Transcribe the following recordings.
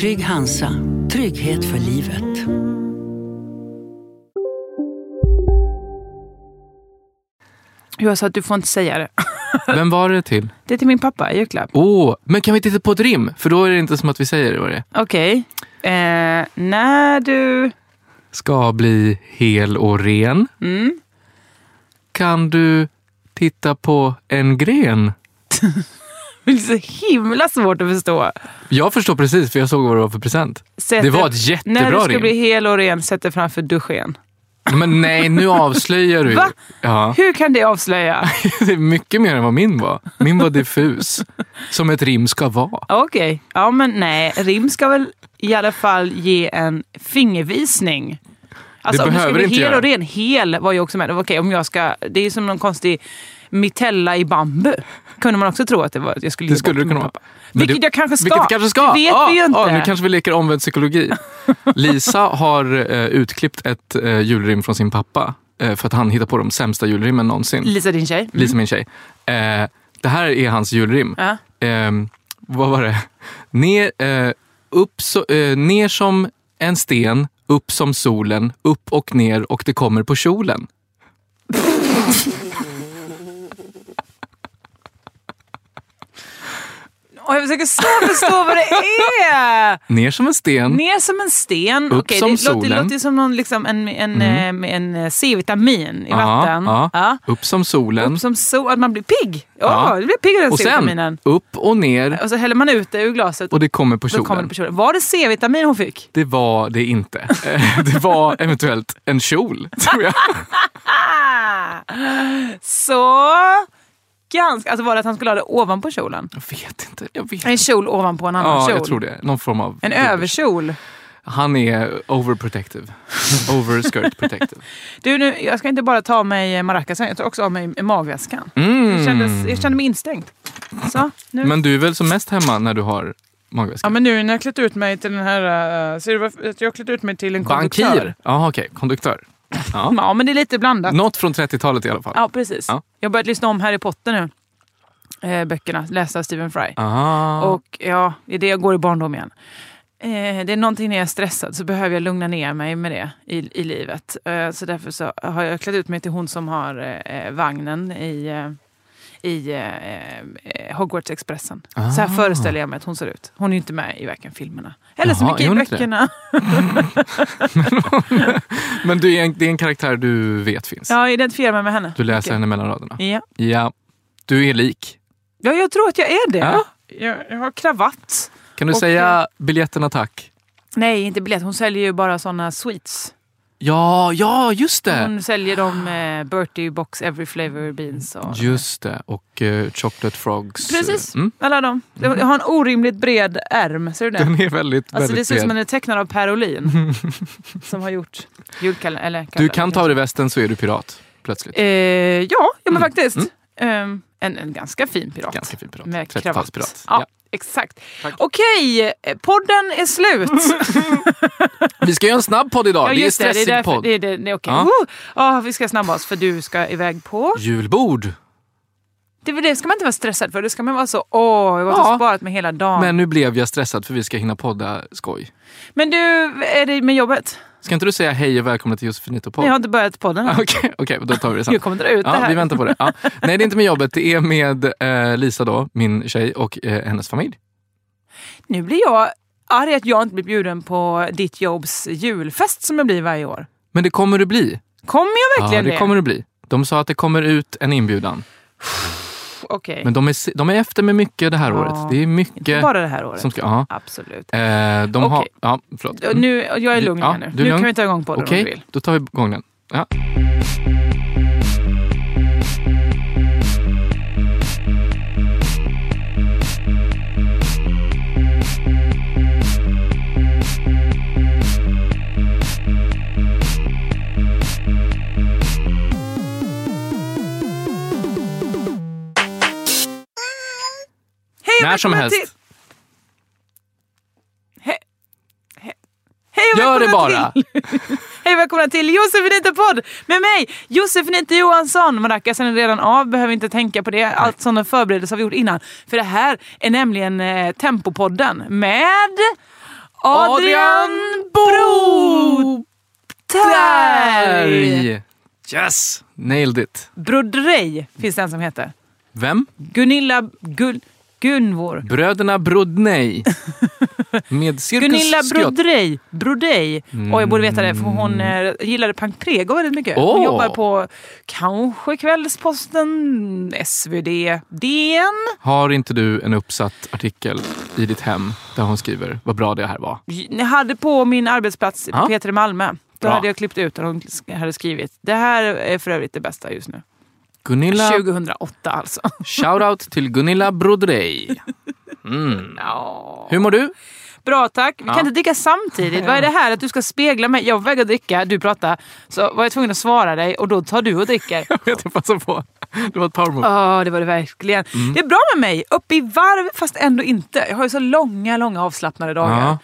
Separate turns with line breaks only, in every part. Trygg Hansa, trygghet för livet.
Jag sa att alltså, du får inte säga det. Ah,
Vem var det till?
Det är till min pappa i julklapp.
Åh, oh, men kan vi titta på ett rim? För då är det inte som att vi säger vad det är.
Okej. Eh, när du...
Ska bli hel och ren.
Mm.
Kan du titta på en gren?
Det är så himla svårt att förstå.
Jag förstår precis, för jag såg vad det var för present.
Sätter,
Det var ett jättebra
När du ska
rim.
bli hel och ren, sätt dig framför duschen.
Men nej, nu avslöjar du.
Va?
Ja,
Hur kan det avslöja?
det är mycket mer än vad min var. Min var diffus. Som ett rim ska vara.
Okej. Ja, men nej. Rim ska väl i alla fall ge en fingervisning. Alltså
Det
om du ska
behöver
bli
inte
hel
göra.
och ren. Hel var ju också med. Okej, om jag ska... Det är som någon konstig mitella i bambu. Kunde man också tro att det var. att Jag skulle
Det
ge bort
skulle
till
du kunna
min
vara.
pappa.
Men
Vilket
det-
jag kanske ska.
Vilket du kanske ska.
Det vet
Ja,
vi ju inte.
ja, nu kanske vi leker omvänd psykologi. Lisa har eh, utklippt ett eh, julrim från sin pappa. Eh, för att han hittar på de sämsta julrimmen någonsin.
Lisa, din tjej.
Lisa min tjej. Eh, det här är hans julrim.
Ja.
Ehm, vad var det? Ner, eh, upp så, eh, ner som en sten, upp som solen, upp och ner och det kommer på kjolen.
Och jag försöker så förstå vad det är.
Ner som en sten.
Ner som en sten.
Mm. Upp
Okej,
som
det, låter, det
solen. Mm.
låter ju som någon, liksom, en, en, eh, en, eh, C-vitamin i vatten.
Ja, ja.
Ja.
Upp som solen.
Upp som sol, att man blir pigg. Ja,
Ja.
det blir pigg av den
och sen
C-vitaminen.
upp och ner
Och så häller man ut det ur glaset
och det kommer på
då kommer
kjolen.
det på kjolen. Var det C-vitamin hon fick?
Det var det inte. Eh, det var eventuellt en kjol, tror jag.
Ah! Så... Ganska, alltså var det att han skulle ha det ovanpå kjolen?
Jag vet inte. Jag vet.
En kjol ovanpå en annan
Ja,
kjol?
jag tror det. Någon form av...
En överkjol?
Han är overprotective. Overskirt protective.
Du, nu, jag ska inte bara ta av mig maracasen, jag tar också av mig magväskan. Jag, kändes, jag kände mig instängd. Så, nu.
Mm. Men du är väl som mest hemma när du har magväska?
ja, men nu när jag klätt ut mig till den här... eh, ser du varför- att jag har klätt ut mig till en konduktör?
Bankir? Ja, okej. Konduktör.
Ja, men det är lite blandat.
Något från 30-talet i alla fall.
Ja, precis.
Mm. Ja.
Jag har börjat lyssna om Harry Potter nu. Eh, böckerna, lästa Stephen Fry.
Ah.
Och ja, det är det jag går i barndom igen. Eh, det är någonting när jag är stressad så behöver jag lugna ner mig med det i, i livet. Eh, så därför så har jag klätt ut mig till hon som har eh, eh, vagnen i, eh, i eh, eh, Hogwarts-expressen. Så
Ah.
här föreställer jag mig att hon ser ut. Hon är ju inte med i varken filmerna eller så
Jaha,
mycket
är
i
hon inte det?
böckerna.
Men du är en, det är en karaktär du vet finns.
Ja, jag identifierar mig med henne.
Du läser
Okej.
henne mellan raderna.
Ja.
Ja. Du är lik.
ja, jag tror att jag är det.
Ja.
Jag, jag har kravatt.
Kan du
Och,
säga biljetterna tack?
Nej, inte biljett. Hon säljer ju bara såna sweets.
Ja, ja, just det!
Hon säljer de eh, Bertie Box Every Flavor Beans och...
Just det. Och eh, Chocolate Frogs.
Precis,
Mm.
alla de. Jag har en orimligt bred ärm, ser du det?
Den är väldigt,
Alltså det
väldigt
ser ut som
bred.
den är tecknad av Per Olin. som har gjort julkalendern. Eller
Du
kalendern.
kan ta av dig västen så är du pirat. Plötsligt.
Eh, ja, ja men faktiskt. Ehm, en, en ganska fin pirat.
Mm. Ganska fin pirat.
Med
30-talspirat.
kravatt.
Ja.
Ja, exakt. Okej, eh, podden är slut.
Vi ska göra en snabb podd idag.
Ja,
det är
just
stressig
det är därför-
podd.
Det är, det, det är okej.
Ja.
Oh, ah, vi ska snabba oss för du ska iväg på...
Julbord.
Det, är väl det ska man inte vara stressad för. Det ska man vara så, åh, jag har
Ja.
ja. sparat mig hela dagen. Men,
Men nu blev jag stressad för vi ska hinna podda skoj.
du, är det med jobbet?
Ska inte du säga hej och välkomna till Josefinito podd?
Jag har inte börjat podden än.
Okej, okej, då tar vi det sen.
Jag kommer dra ut det
Ja,
här.
vi väntar på det. Ja. Nej, det är inte med jobbet. Det är med eh, Lisa, då, min tjej, och eh, hennes familj.
Nu blir jag arg att jag inte blir bjuden på ditt jobbs julfest som jag blir varje år.
Men det kommer du bli.
Kommer jag
Ja,
verkligen
det kommer du bli. De sa att det kommer ut en inbjudan.
Okej.
Men de är, se- de är efter med mycket det här
Ja.
året. Det är
Inte
mycket
bara det här året.
som ska... Ja.
Absolut.
Eh, de har...
Okej.
Ja, förlåt.
Ja, Nu, jag är lugn
Ja,
här nu.
du är
Nu
lugn.
kan vi ta igång podden
Okej,
om du vill.
då tar vi igång den. Ja.
Hej och
När som
välkomna
helst.
till- He- he- Hej och
Gör det
välkomna
bara!
till- Hej och välkomna till Josefinita podd med mig Josefinita Johansson. Maracasien är redan av, behöver inte tänka på det. Allt sådana förberedelser har vi gjort innan. För det här är nämligen eh, Tempopodden med Adrian Broberg!
Berg! Yes! Nailed it.
Brodrej finns det en som heter.
Vem?
Gunilla Gun- Gunvor.
Bröderna Brodnej. Med cirkus
Gunilla
Skott. Mm.
Brodrej. Brodej. Och jag borde veta det, för hon eh, gillade Pank Prego väldigt mycket. Hon
Åh.
jobbar på kanske Kvällsposten, SvD, DN.
Har inte du en uppsatt artikel i ditt hem där hon skriver vad bra det här var?
Jag hade på min arbetsplats
Ja.
på Peter i Malmö. Då
Bra.
hade jag klippt ut och hon sk- hade skrivit. Det här är för övrigt det bästa just nu.
Gunilla...
2008 alltså.
Shoutout till Gunilla Brodrej.
Ja.
Hur mår du?
Bra tack. Vi
Ja.
kan inte dricka samtidigt. Vad är det här att du ska spegla mig? Jag vägrar dricka, du pratar. Så var jag tvungen att svara dig och då tar du och dricker.
Jag vet inte vad som på. Det var ett power move.
Ja, det var det verkligen.
Mm.
Det är bra med mig. Upp i varv, fast ändå inte. Jag har ju så långa, långa avslappnade dagar.
Ja.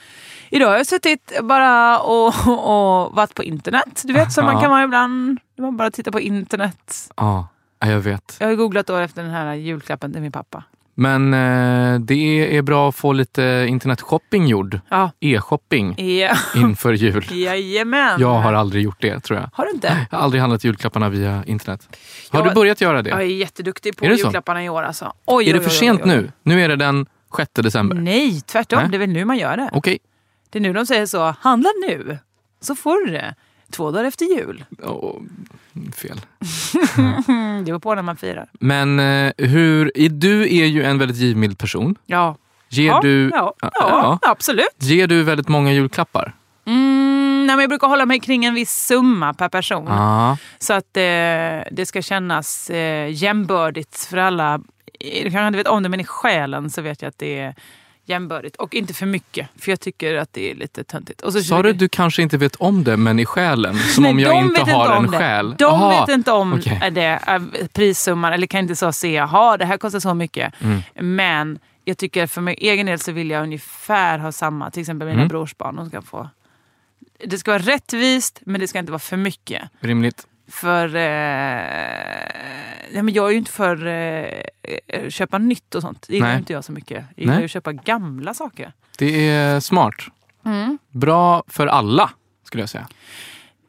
Idag har jag suttit bara och, och varit på internet. Du vet som man
Ja.
kan vara ibland. Man bara tittar på internet.
Ja, jag vet.
Jag har googlat då efter den här julklappen till min pappa.
Men eh, det är bra att få lite internetshopping gjord.
Ja.
E-shopping
Ja.
inför jul.
Jajamän.
Jag har aldrig gjort det, tror jag.
Har du inte?
Jag har aldrig handlat julklapparna via internet. Har
Jag-
du börjat göra det?
Jag är jätteduktig på
Är det så?
julklapparna i år alltså. Oj,
Är det
oj,
för
oj,
sent
oj, oj.
nu? Nu är det den 6 december.
Nej, tvärtom.
Nej.
Det är väl nu man gör det.
Okej.
Det är nu de säger så. Handla nu, så får du det. Två dagar efter jul.
Åh, fel.
Mm, det var på när man firar.
Men eh, hur... i- Du är ju en väldigt givmild person.
Ja,
Ger,
ja,
du, ah,
ja, ja,
ja.
absolut.
ger du väldigt många julklappar?
Mm, nej, men jag brukar hålla mig kring en viss summa per person.
Ja.
Så att eh, det ska kännas eh, jämbördigt för alla. Eh, Du kanske inte vet om det, men i själen så vet jag att det är jämbördigt. Och inte för mycket, för jag tycker att det är lite töntigt. Och så
Sa du du kanske inte vet om det, men i själen? Som
Nej,
om
de
jag inte
vet
har
om
en
det.
själ?
De
Aha,
vet inte om
okej.
eh, det, eh, prissumman eller kan inte så se, jaha det här kostar så mycket.
Mm.
Men jag tycker för min egen del så vill jag ungefär ha samma, till exempel mina
Mm.
brors barn. De ska få. Det ska vara rättvist men det ska inte vara för mycket.
Rimligt.
För eh, nej, men jag är ju inte för eh, eh, köpa nytt och sånt. Det gillar
Nej.
inte jag så mycket. Jag gillar
Nej.
ju att köpa gamla saker.
Det är smart.
Mm.
Bra för alla, skulle jag säga.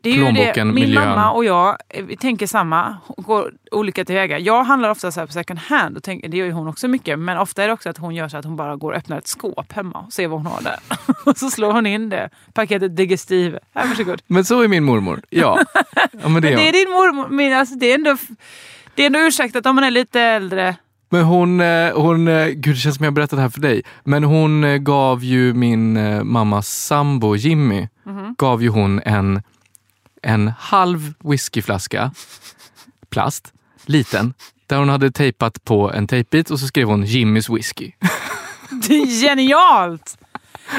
Det är ju det.
Plånboken,
Min
miljön.
mamma och jag eh, vi tänker samma, går olika tillväga. Jag handlar ofta så här på second hand, och tänker, det gör ju hon också mycket. Men ofta är det också att hon gör så att hon bara går och öppnar ett skåp hemma och ser vad hon har där. och så slår hon in det, paketet digestive. Här, varsågod.
Men så är min mormor. Ja, ja men det är
Det är
hon.
din mormor, men alltså, det är ändå... Det är ändå ursäktat om man är lite äldre.
Men hon, eh, hon... eh, Gud, det känns som jag har berättat det här för dig. Men hon eh, gav ju min eh, mammas sambo Jimmy
Mm-hmm.
gav ju hon en, en halv whiskyflaska, plast, liten, där hon hade tejpat på en tejpbit och så skrev hon Jimmys whisky.
Det är genialt!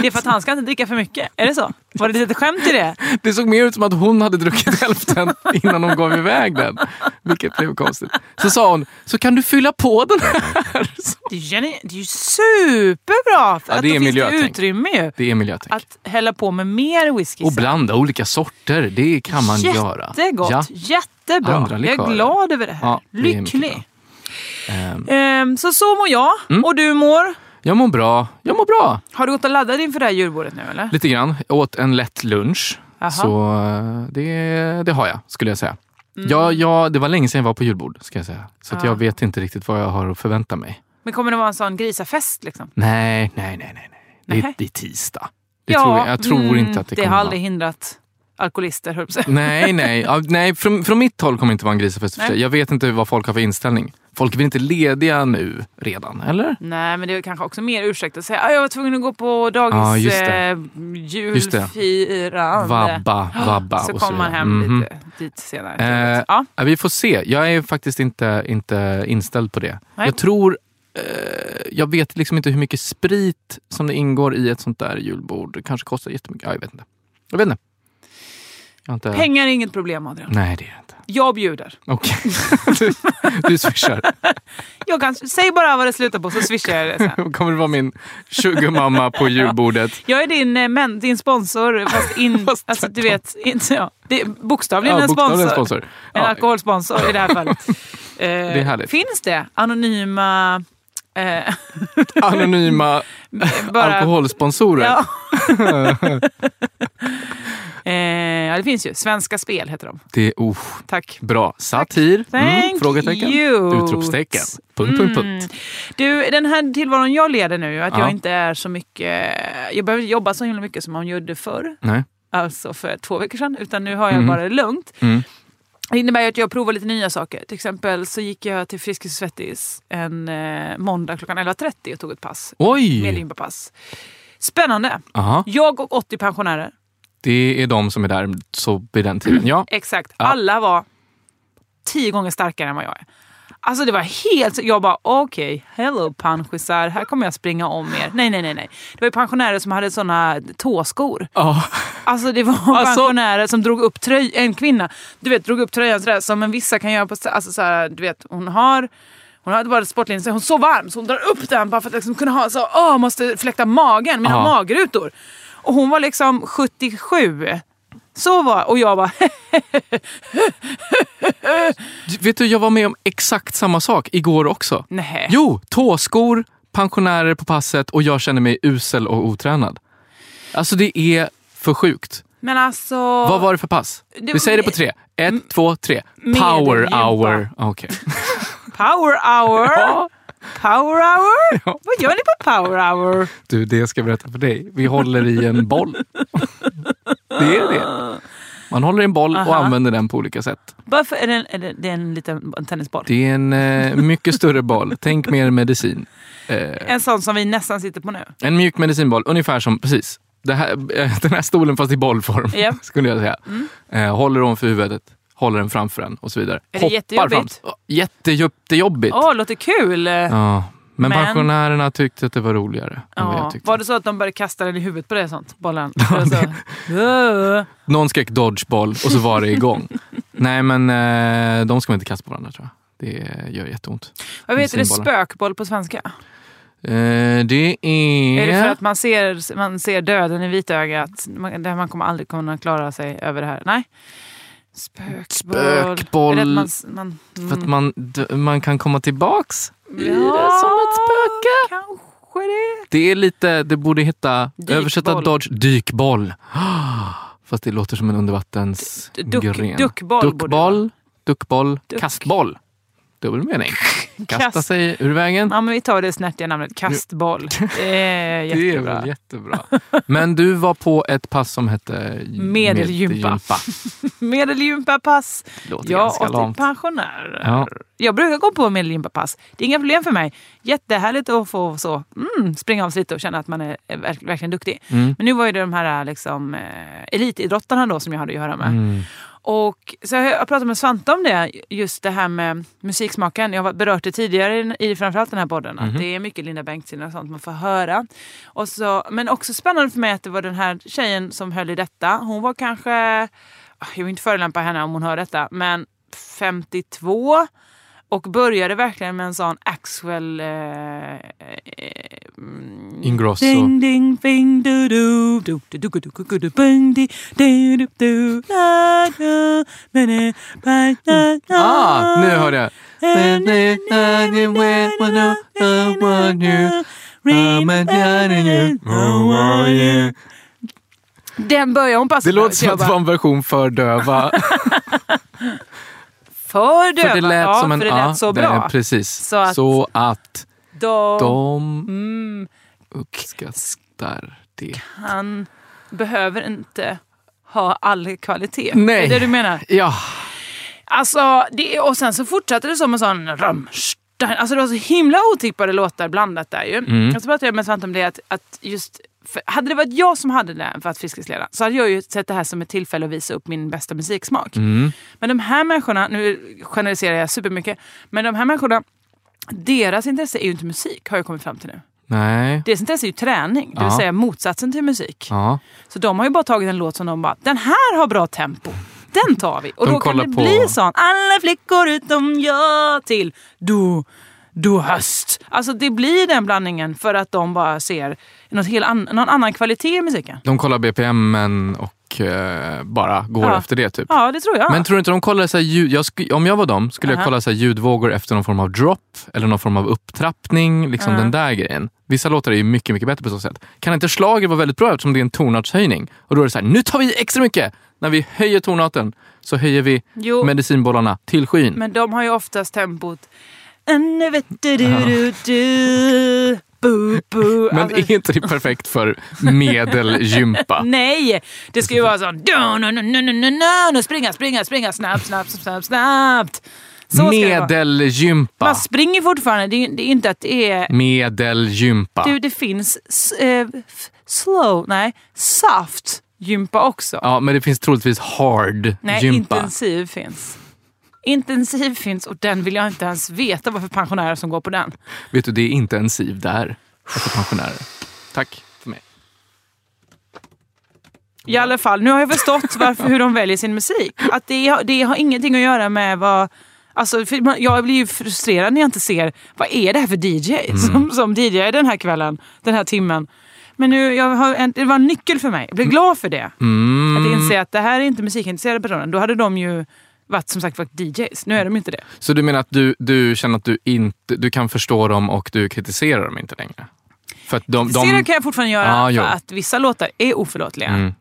Det är för att han ska inte dricka för mycket. Är det så? Var det lite skämt i det?
Det såg mer ut som att hon hade druckit hälften innan hon gav iväg den. Vilket blev konstigt. Så sa hon, så kan du fylla på den här. Så.
Det är, geni- det är ju superbra! För
Ja,
att
det
då finns det
är miljötänk.
utrymme ju.
Det är miljötänk.
Att hälla på med mer whisky.
Och
sen.
blanda olika sorter, det kan man göra.
Jättegott!
Ja.
Jättebra!
Andra
jag är
likörer.
glad över det här.
Ja, det är mycket
Lycklig! Ehm, så så mår jag.
Mm.
Och du mår?
Jag mår bra. Jag mår bra.
Har du gått och laddat inför det här julbordet nu eller?
Lite grann. Jag åt en lätt lunch.
Jaha.
Så eh, det, det har jag, skulle jag säga. Ja, ja, det var länge sedan jag var på julbord, ska jag säga. Så att
Ja.
jag vet inte riktigt vad jag har att förvänta mig.
Men kommer det vara en sån grisafest liksom?
Nej, nej, nej. nej, nej. Det,
Nej.
är, det är tisdag. Det tror jag, jag tror
mm,
inte att det, kommer
har
vara-
aldrig hindrat alkoholister, höll jag på att säga.
Nej, nej. Ja, nej från, från mitt håll kommer det inte vara en grisafest. i och för
Nej.
sig. Jag vet inte vad folk har för inställning. Folk är väl inte lediga nu redan, eller?
Nej, men det är kanske också mer ursäkt att säga "Ah, jag var tvungen att gå på dagis
Ja, just det.
eh,
Just det.
julfirande.
Vabba, vabba
Så
och så
kommer man
vidare.
hem
Mhm.
lite dit senare.
Eh,
ja.
ja, vi får se. Jag är faktiskt inte, inte inställd på det.
Nej.
Jag tror... Eh, jag vet liksom inte hur mycket sprit som det ingår i ett sånt där julbord. Det kanske kostar jättemycket. Ja, jag vet inte. Jag vet inte. Jag har inte...
Pengar är inget problem Adrian.
Nej, det är det inte.
Jag bjuder.
Okej. du, du swishar.
Jag kan, säg bara vad det slutar på så swishar jag det sen.
Kommer du vara min sugarmamma på julbordet?
Jag är din, eh, men, din sponsor, fast, in,
Fast
alltså, du vet, inte, ja, det är bokstavligen en
bokstavligen
sponsor.
sponsor.
En
Ja,
alkoholsponsor i det här fallet. det
är härligt.
Finns det anonyma... Eh,
Anonyma
bara,
alkoholsponsorer.
Ja. eh, ja, det finns ju. Svenska Spel heter de.
Det, oh,
Tack.
bra. Satir? Mm,
Thank
frågetecken?
you. Mm.
Utropstecken? Punkt, punkt, punkt.
Du, den här tillvaron jag leder nu, att
Ja.
jag inte är så mycket... Jag behöver inte jobba så himla mycket som man gjorde förr,
Nej.
alltså för två veckor sedan, utan nu har jag bara det lugnt.
Mm.
Det innebär ju att jag provar lite nya saker. Till exempel så gick jag till Friskis och Svettis en eh, måndag klockan 11.30 och tog ett pass. Med
Oj!
gympapass. Spännande!
Aha,
Jag och 80 pensionärer.
det är de som är där så vid den tiden. Ja.
Exakt.
Ja.
Alla var tio gånger starkare än vad jag är. Alltså det var helt... Jag bara okej, hello panschisar, här kommer jag springa om er. Nej, nej, nej. nej. Det var ju pensionärer som hade såna tåskor.
Ja.
Alltså det var pensionärer som drog upp tröjan, en kvinna, du vet drog upp tröjan sådär som en vissa kan göra på, alltså såhär, du vet hon har hon hade bara sportlinjen, så hon är så varm så hon drar upp den bara för att liksom kunna ha så, åh måste fläkta magen, mina
Ja.
magrutor. Och hon var liksom 77. Så var, och jag var
Vet du, jag var med om exakt samma sak igår också.
nej.
Jo, tåskor, pensionärer på passet och jag känner mig usel och otränad. Alltså det är för sjukt.
Men alltså...
Vad var det för pass?
Det-
Vi säger det på tre. Ett, två, tre. Power
medelgympa.
hour. Okej.
Power hour!
Ja.
Power hour?
Ja.
Vad gör ni på power hour?
Du, det ska jag berätta för dig. Vi håller i en boll. Det är det. Man håller i en boll och
Aha.
använder den på olika sätt.
Varför är det en, är det, det är en liten en tennisboll?
Det är en eh, mycket större boll. Tänk mer medicin. Eh,
En sån som vi nästan sitter på nu.
en mjuk medicinboll, ungefär som, precis. Det här, eh, den här stolen fast i bollform,
Ja. Mm.
skulle jag säga. Eh, håller ovanför huvudet, håller den framför en och så vidare.
Är det jättejobbigt?
Fram. Jätte, jättejobbigt.
Åh, låter kul! Ja,
Ja. Men,
Men-
pensionärerna tyckte att det var roligare än vad jag tyckte.
Var det så att de började kasta den i huvudet på dig? och Sånt? Bollen? Alltså, Eller så? Öh.
Någon skrek dodgeball och så var det igång. Nej, men eh, de ska man inte kasta på varandra tror jag. Det gör jätteont.
Vad heter det?
Medicinbollar.
Spökboll på svenska?
Eh, det är...
Är det för att man ser, man ser döden i vitögat? Man, där man kommer aldrig kunna klara sig över det här? Nej. Spökboll.
Spökboll.
Är det att man, man,
För att man, d- man kan komma tillbaks? Blir det
Ja,
som ett spöke?
Kanske det.
Det är lite, det borde heta,
Dykboll.
översätta dodge, dykboll. Ah, Fast det låter som en
Duck-
undervattensgren.
duckboll borde det
Duckboll, duckboll,
Duck.
kastboll. Dubbel mening. Kasta
Kast-
sig ur vägen.
Ja, men vi tar det snärtiga namnet kastboll. Det är
Det är
jättebra.
väl jättebra. Men du var på ett pass som hette
Medelgympa. Medelgympapass.
Låter
Jag
ganska
och
lamt.
till pensionärer.
Ja.
Jag brukar gå på medelgympapass. Det är inga problem för mig. Jättehärligt att få så, mm, springa av sig lite och känna att man är är verk, verkligen duktig.
Mm.
Men nu var ju det de här liksom, eh, elitidrottarna då som jag hade att göra med.
Mm.
Och så har jag jag pratat med Svante om det, just det här med musiksmaken. Jag har berört det tidigare i- i framförallt den här podden. Att det är mycket Linda Bengtzing och sånt man får höra. Och så, men också spännande för mig att det var den här tjejen som höll i detta. Hon var kanske, ah, jag vill inte förolämpa henne om hon hör detta, men 52. Och började verkligen med en sån Axwell... Eh, eh, mm,
Ingrosso.
Ding, ding, bing, du, du, du, du, du, du, du, du, bing, di, di, du, du, la, la, la, la, la, la, la.
Ah, nu hörde jag.
Den börjar hon passa
Det låter
på,
som
så
att
jag
det var en version för döva.
För döva.
För det lät
ja,
som en...
för det lät
ja,
så
det-
bra.
Precis.
Så att-
Så att
De,
de
Mm,
uppskattar det.
han behöver inte ha all kvalitet.
Nej.
Är det det du menar?
Ja,
Alltså, det, och sen så fortsatte det som en sån Rammstein. Alltså det var så himla otippade låtar blandat där ju. Och så pratade jag med Svante om det att, att just för, hade det varit jag som hade den för att fiskesläda så hade jag ju sett det här som ett tillfälle att visa upp min bästa musiksmak. Men de här människorna, nu generaliserar jag supermycket, men de här människorna, deras intresse är ju inte musik har jag kommit fram till nu.
nej.
Deras intresse är ju träning, det vill
Ja.
säga motsatsen till musik.
Ja.
Så de har ju bara tagit en låt som de bara, den här har bra tempo. Den tar vi. Och
De
då kan
kollar
det
på-
bli sån, alla flickor utom jag till du, du höst. Alltså det blir den blandningen för att de bara ser något helt an- någon annan kvalitet i musiken.
De kollar BPM och eh, bara går
Ja.
efter det typ.
Ja, det tror jag.
Men tror du inte de kollar så här ljud, jag sk- om jag var dem skulle jag kolla så här ljudvågor efter någon form av drop eller någon form av upptrappning. Liksom den där grejen. Vissa låtar är ju mycket, mycket bättre på så sätt. Kan inte slaget vara väldigt bra eftersom det är en tonartshöjning? Och då är det så här, nu tar vi extra mycket! När vi höjer tonarten så höjer vi
Jo.
medicinbollarna till skyn.
Men de har ju oftast tempot... "Nu vet du du du du, bu, bu."
Men
Alltså-
är inte det perfekt för medelgympa?
Nej! Det ska ju vara sån... "Du, nu, nu, nu, nu, nu, nu, nu, Springa, springa, springa, snabbt, snabbt, snabbt, snabbt. Så ska det vara.
Medelgympa.
Man springer fortfarande. Det är, det är inte att det är...
Medelgympa.
Du, det finns s- eh, f- slow... Nej, soft gympa också.
Ja, men det finns troligtvis hard
nej,
gympa.
intensiv finns. Intensiv finns och den vill jag inte ens veta varför pensionärer som går på den.
Vet du, det är inte en SIV där. För pensionärer. Tack för mig.
I alla fall, nu har jag förstått varför, hur de väljer sin musik. Att det, har- det har ingenting att göra med vad... Alltså, för man- jag blir ju frustrerad när jag inte ser vad är det här för DJ som, som DJ den här kvällen, den här timmen. Men nu, jag har en, det var en nyckel för mig. Jag blev glad för det.
Mm.
Att inse att det här är inte musikintresserade personer. Då hade de ju varit som sagt varit DJs. Nu är de ju inte det.
Så du menar att du, du känner att du inte du kan förstå dem och du kritiserar dem inte längre? För att de,
Ser
de,
det kan jag fortfarande göra
Ja, jo.
för att vissa låtar är oförlåtliga.
Mm.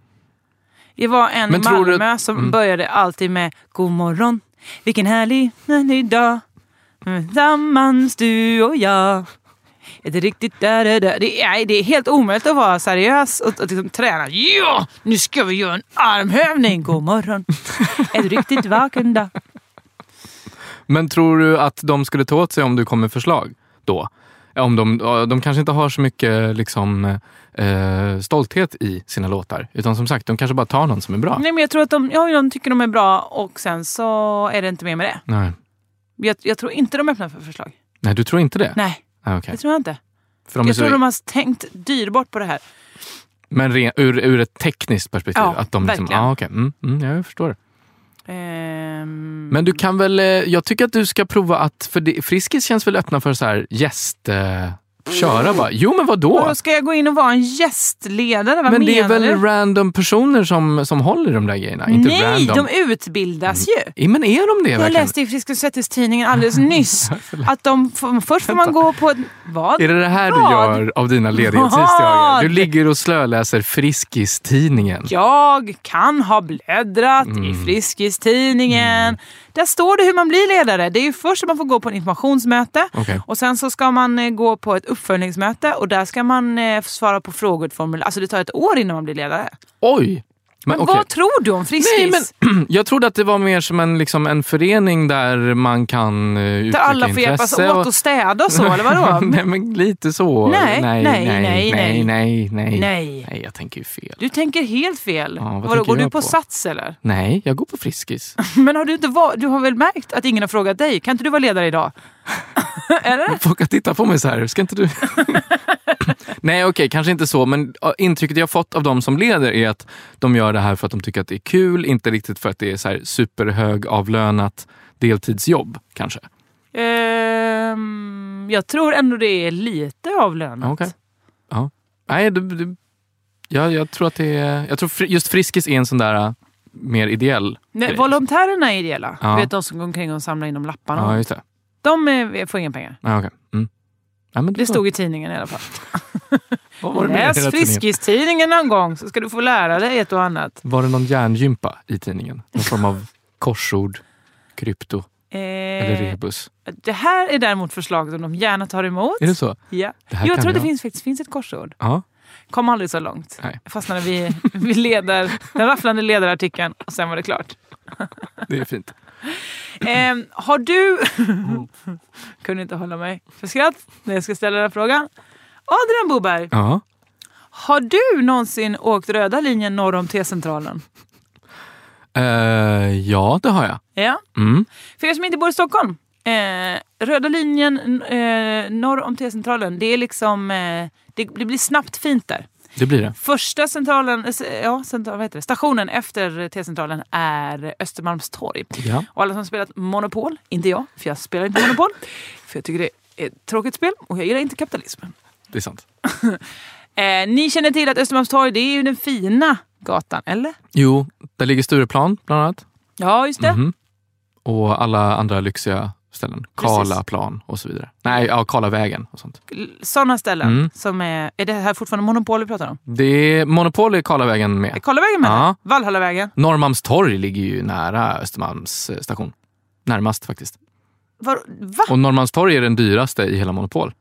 Det var en
Men tror du- mm.
Malmö som började alltid med God morgon, vilken härlig, härlig dag. Tillsammans du och jag. Är det riktigt där, där, där. Det, är, nej, det är helt omöjligt att vara seriös och, och liksom träna. Ja, nu ska vi göra en armhävning. God morgon. Är du riktigt vaken då?
men tror du att de skulle ta åt sig om du kom med förslag då? Om de, ja, de kanske inte har så mycket liksom, eh, stolthet i sina låtar. Utan som sagt, de kanske bara tar någon som är bra.
Nej, men jag tror att de, ja, de tycker de är bra och sen så är det inte mer med det.
Nej.
Jag, jag tror inte de är öppna för förslag.
Nej, du tror inte det?
Nej,
Nej, okej.
det tror jag inte.
För de är
Jag tror
så,
de har tänkt dyrbart på det här.
men re, ur, ur ett tekniskt perspektiv?
Ja,
att de liksom,
verkligen.
ah, okej. mm, mm, ja, jag förstår.
Ehm,
Men du kan väl, eh, jag tycker att du ska prova att, för det, Friskis känns väl öppna för så här gäst... Eh, köra bara. Jo men
och
vadå?
då ska jag gå in och vara en gästledare? Vad
Men det är
menar
väl
du?
random personer som, som håller i de där grejerna? Inte
Nej,
random.
de utbildas ju.
Ja, Men är de det
Jag
verkligen?
läste i Friskis Svettis-tidningen alldeles nyss att de, f- först får man gå på... ett- Vad?
Är det det här du
Vad?
gör av dina ledighetshistorier? Du
Vad?
ligger och slöläser Friskis-tidningen.
Jag kan ha bläddrat i
Mm.
Friskis-tidningen. Där står det hur man blir ledare. Det är ju först man får gå på en informationsmöte
Okej.
och sen så ska man eh, gå på ett uppföljningsmöte och där ska man eh, svara på frågor i ett formulär. Alltså det tar ett år innan man blir ledare.
Oj! Men, okej.
Vad tror du om Friskis?
Nej, men jag trodde att det var mer som en, liksom, en förening där man kan uh, uttrycka
Där alla får hjälpas
intresse.
åt och städa och så, eller vadå?
nej, men lite så.
Nej, nej,
nej,
nej,
nej,
nej.
nej, nej.
Nej.
Nej, jag tänker ju fel.
Du tänker helt fel.
Ja, vad
vadå,
tänker
går du
jag
på,
på?
Sats eller?
Nej, jag går på Friskis.
Men har du, inte var, du har väl märkt att ingen har frågat dig? Kan inte du vara ledare idag? eller?
Folk har tittat på mig så här, ska inte du... nej, okej, kanske inte så, men ja, intrycket jag fått av de som leder är att de gör det här för att de tycker att det är kul, inte riktigt för att det är så här superhögavlönat deltidsjobb kanske.
Ehm, jag tror ändå det är lite avlönat.
Okej. Ja. Nej, du, du, jag, jag tror att det är... Jag tror fri, just Friskis är en sån där äh, mer ideell
Nej,
grej.
volontärerna är ideella.
Ja.
Du vet de som går omkring och samlar in de lapparna.
Ja, just det.
De eh, får inga pengar.
Ja, okej. mm. ja, men
Det
var-
stod i tidningen i alla fall.
vad var det med
Läs
hela tidningen?
Friskis-tidningen någon gång så ska du få lära dig ett och annat.
Var det någon hjärngympa i tidningen? Någon form av korsord, krypto eller
Eh,
rebus?
det här är däremot förslag som de gärna tar emot.
Är det så?
Ja.
Det här
Jo, jag
kan
tror att det
jag.
finns, faktiskt finns ett korsord.
Ja.
Kom aldrig så långt.
Nej.
Jag fastnade vid, vid leder, den rafflande ledarartikeln och sen var det klart.
Det är fint.
Ehm, har du... Kunde inte hålla mig för skratt när jag ska ställa den här frågan. Adrian Boberg,
Ja.
har du någonsin åkt röda linjen norr om T-centralen?
Eh, ja, det har jag.
Ja.
Mm.
För er som inte bor i Stockholm. Eh, röda linjen n- eh, norr om T-centralen, det är liksom... Eh, det, det blir snabbt fint där.
Det blir det.
Första centralen, eh, s- ja, central, vad heter det? stationen efter T-centralen är Östermalmstorg.
Ja.
Och alla som spelat Monopol, inte jag, för jag spelar inte Monopol. För jag tycker det är ett tråkigt spel och jag gillar inte kapitalism.
Det är sant.
Eh, ni känner till att Östermalmstorg, det är ju den fina gatan, eller?
Jo, där ligger Stureplan bland annat.
Ja, just det.
Mhm. Och alla andra lyxiga ställen. Karlaplan och så vidare. Nej, ja, Karlavägen och sånt.
L- Såna ställen
Mm.
som är... Är det här fortfarande Monopol vi pratar om?
Det är monopol i Karlavägen
Är
med.
Karlavägen med?
Ja.
Valhallavägen?
Norrmalmstorg ligger ju nära Östermalms eh, station. Närmast faktiskt.
Var, va?
Och Norrmalmstorg är den dyraste i hela Monopol.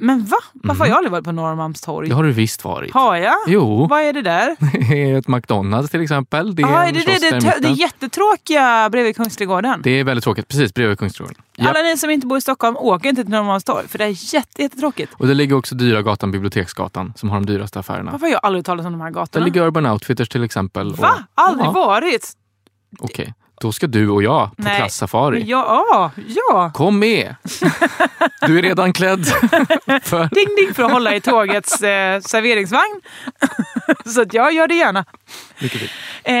Men va? Varför har jag aldrig varit på Norrmalmstorg?
Det Mhm. har du visst varit.
Har jag?
Jo,
Vad är det där?
det är ett McDonalds till exempel. Det är,
Ah, är
en
det, det,
kiosk
det,
där i
tö- det
mitten.
jättetråkiga bredvid Kungsträdgården?
det är väldigt tråkigt. Precis bredvid Kungsträdgården. Japp.
Alla ni som inte bor i Stockholm, åk inte till Norrmalmstorg för det är jätte, jättetråkigt.
Och det ligger också Dyra gatan, Biblioteksgatan, som har de dyraste affärerna.
Varför har jag aldrig talat om de här
Där
gatorna?
ligger Urban Outfitters till exempel. och-
Va? Aldrig
Ja,
varit?
Okej, då ska du och jag på
Nej,
klassafari.
Men ja, ja.
Kom med! Du är redan klädd. För...
Ding ding för att hålla i tågets eh, serveringsvagn. Så att jag gör det gärna.
Mycket fint.
Eh,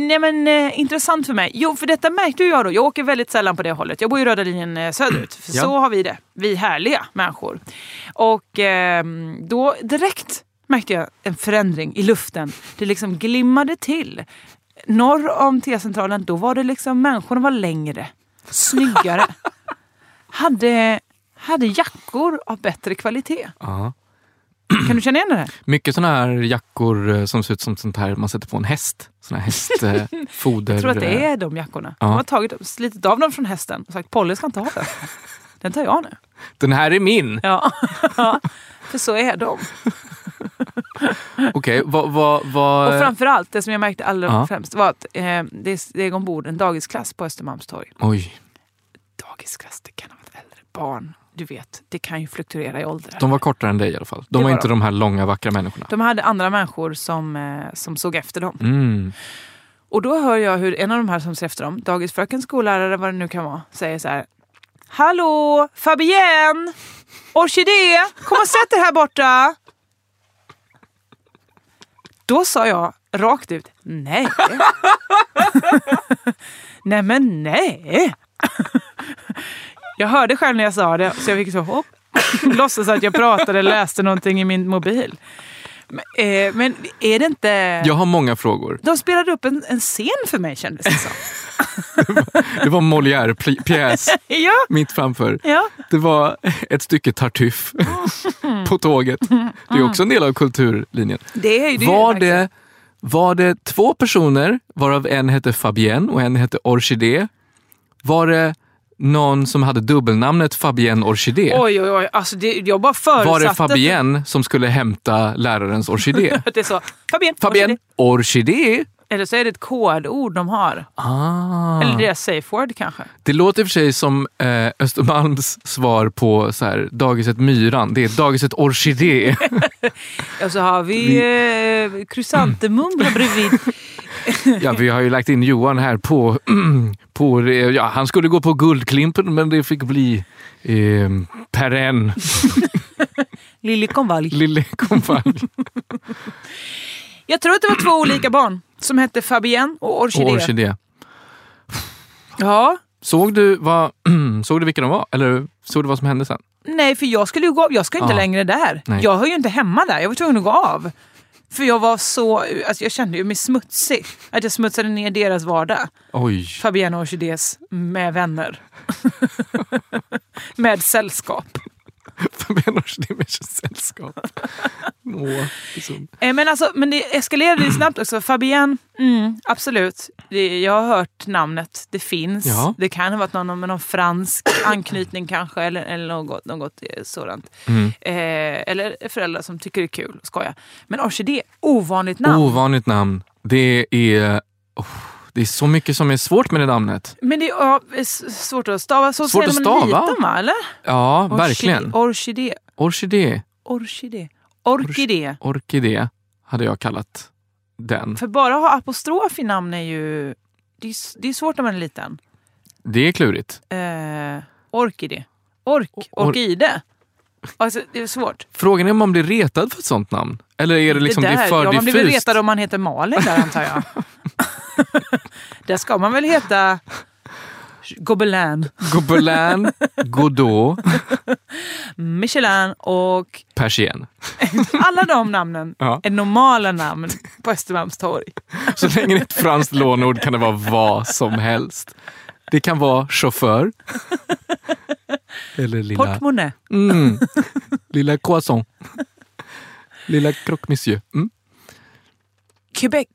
nej men eh, intressant för mig. Jo, för detta märkte ju jag då. Jag åker väldigt sällan på det hållet. Jag bor ju röda linjen eh, söderut. För
Ja.
Så har vi det. Vi härliga människor. Och ehm, då direkt märkte jag en förändring i luften. Det liksom glimmade till. Norr om T-centralen, då var det liksom människorna var längre, snyggare. hade, hade jackor av bättre kvalitet.
Ja.
Kan du känna igen det här?
Mycket såna här jackor eh, som ser ut som sånt här man sätter på en häst. eh, Såna här hästfoder...
Jag tror att det är de jackorna.
Ja.
De har tagit, slitit av dem från hästen och sagt Polly ska inte ha den. Den tar jag nu.
Den här är min!
Ja. För så är de.
Okej, vad... vad, vad...
Och framförallt, det som jag märkte allra
Ja.
främst var att eh, det steg ombord en dagisklass på Östermalmstorg.
Oj,
Dagisklass, det kan ha varit äldre barn. Du vet, det kan ju fluktuera i ålder.
de var kortare än dig i alla fall.
Det
De var,
var
inte de här långa vackra människorna.
De hade andra människor som, eh, som såg efter dem.
Mm.
Och då hör jag hur en av de här som ser efter dem, dagisfröken, skollärare, vad det nu kan vara, säger så här. Hallå, Fabienne! Orkidé! Kom och sätt dig här borta! Då sa jag rakt ut, nej. nej men nej. jag hörde själv när jag sa det, så jag fick så hopp. Låtsas att jag pratade, läste någonting i min mobil. Men, eh, men är det inte...
Jag har många frågor.
De spelade upp en, en scen för mig kändes det som.
Det var en Molière-pjäs
ja,
mitt framför.
ja.
Det var ett stycke Tartuffe på tåget. Det är också en del av kulturlinjen.
Det är ju det.
Var
ju
det, var det två personer, varav en hette Fabienne och en hette Orchidé? Var det någon som hade dubbelnamnet Fabienne Orchidé?
Oj, oj, oj. Alltså, det, jag bara förutsatte
var det
att-
Fabienne som skulle hämta lärarens orkidé?
att det är så. Fabienne.
Fabienne
Orkidé.
Orchidé?
Eller så är det ett kodord de har.
Ah.
Eller deras safe word kanske.
Det låter i och för sig som eh, Östermalms svar på så här, dagiset Myran. Det är dagiset Orchidé.
Och så har vi, Eh, krysantemumla bredvid.
Ja, vi har ju lagt in Johan här på... på eh, ja, han skulle gå på Guldklimpen, men det fick bli eh, Perren,
Liljekonvalj.
lille kompanj
Jag tror att det var två olika barn som hette Fabienne och
och
Orkidé.
Orkidé.
Ja.
Såg du, vad, såg du vilka de var? Eller såg du vad som hände sen?
Nej, för jag skulle ju gå av. Jag ska ju inte
Ja.
längre där.
Nej.
Jag hör ju inte hemma där. Jag var tvungen att gå av. För jag var så... Alltså jag kände ju mig smutsig. Att jag smutsade ner deras vardag.
Oj.
Fabienne och Orkidés med vänner. med sällskap.
Fabianos Dimers sällskap. Nå, liksom.
Eh, Men, alltså, men det eskalerade ju snabbt också. Fabienne, mm, absolut. Det, jag har hört namnet, det finns.
Ja.
Det kan ha varit någon med någon fransk anknytning kanske, eller, eller något, något eh, sådant.
Mm.
Eh, eller föräldrar som tycker det är kul och skoja. Men orkidé, ovanligt namn.
Ovanligt namn. Det är, oh, det är så mycket som är svårt med det namnet.
Men det är ja, eh, s- svårt att stava. Så
Svårt
säger
att
man
stava.
liten va? Eller?
Ja,
Orchi-
verkligen.
Orkidé.
Orkidé.
Orkidé. Orkidé.
Orkidé hade jag kallat den.
För bara att ha apostrof i namn är ju... Det är, s- det är svårt när man är liten.
Det är klurigt.
Eh, orkidé. Ork.
Or-
Orkide. Alltså, det är svårt.
Frågan är om man blir retad för ett sånt namn. Eller är det liksom det
där,
är för
ja, man blir väl
diffust?
retad om man heter Malin där antar jag. där ska man väl heta Gobelin,
Gobelin, Godot,
Michelin och
Persien.
alla de namnen
Ja.
är normala namn på Östermalmstorg.
Så länge det är ett franskt lånord kan det vara vad som helst. Det kan vara chaufför. Eller lilla,
Portmonnä.
mm, lilla croissant. Lilla croque monsieur. Mm.
Quebec.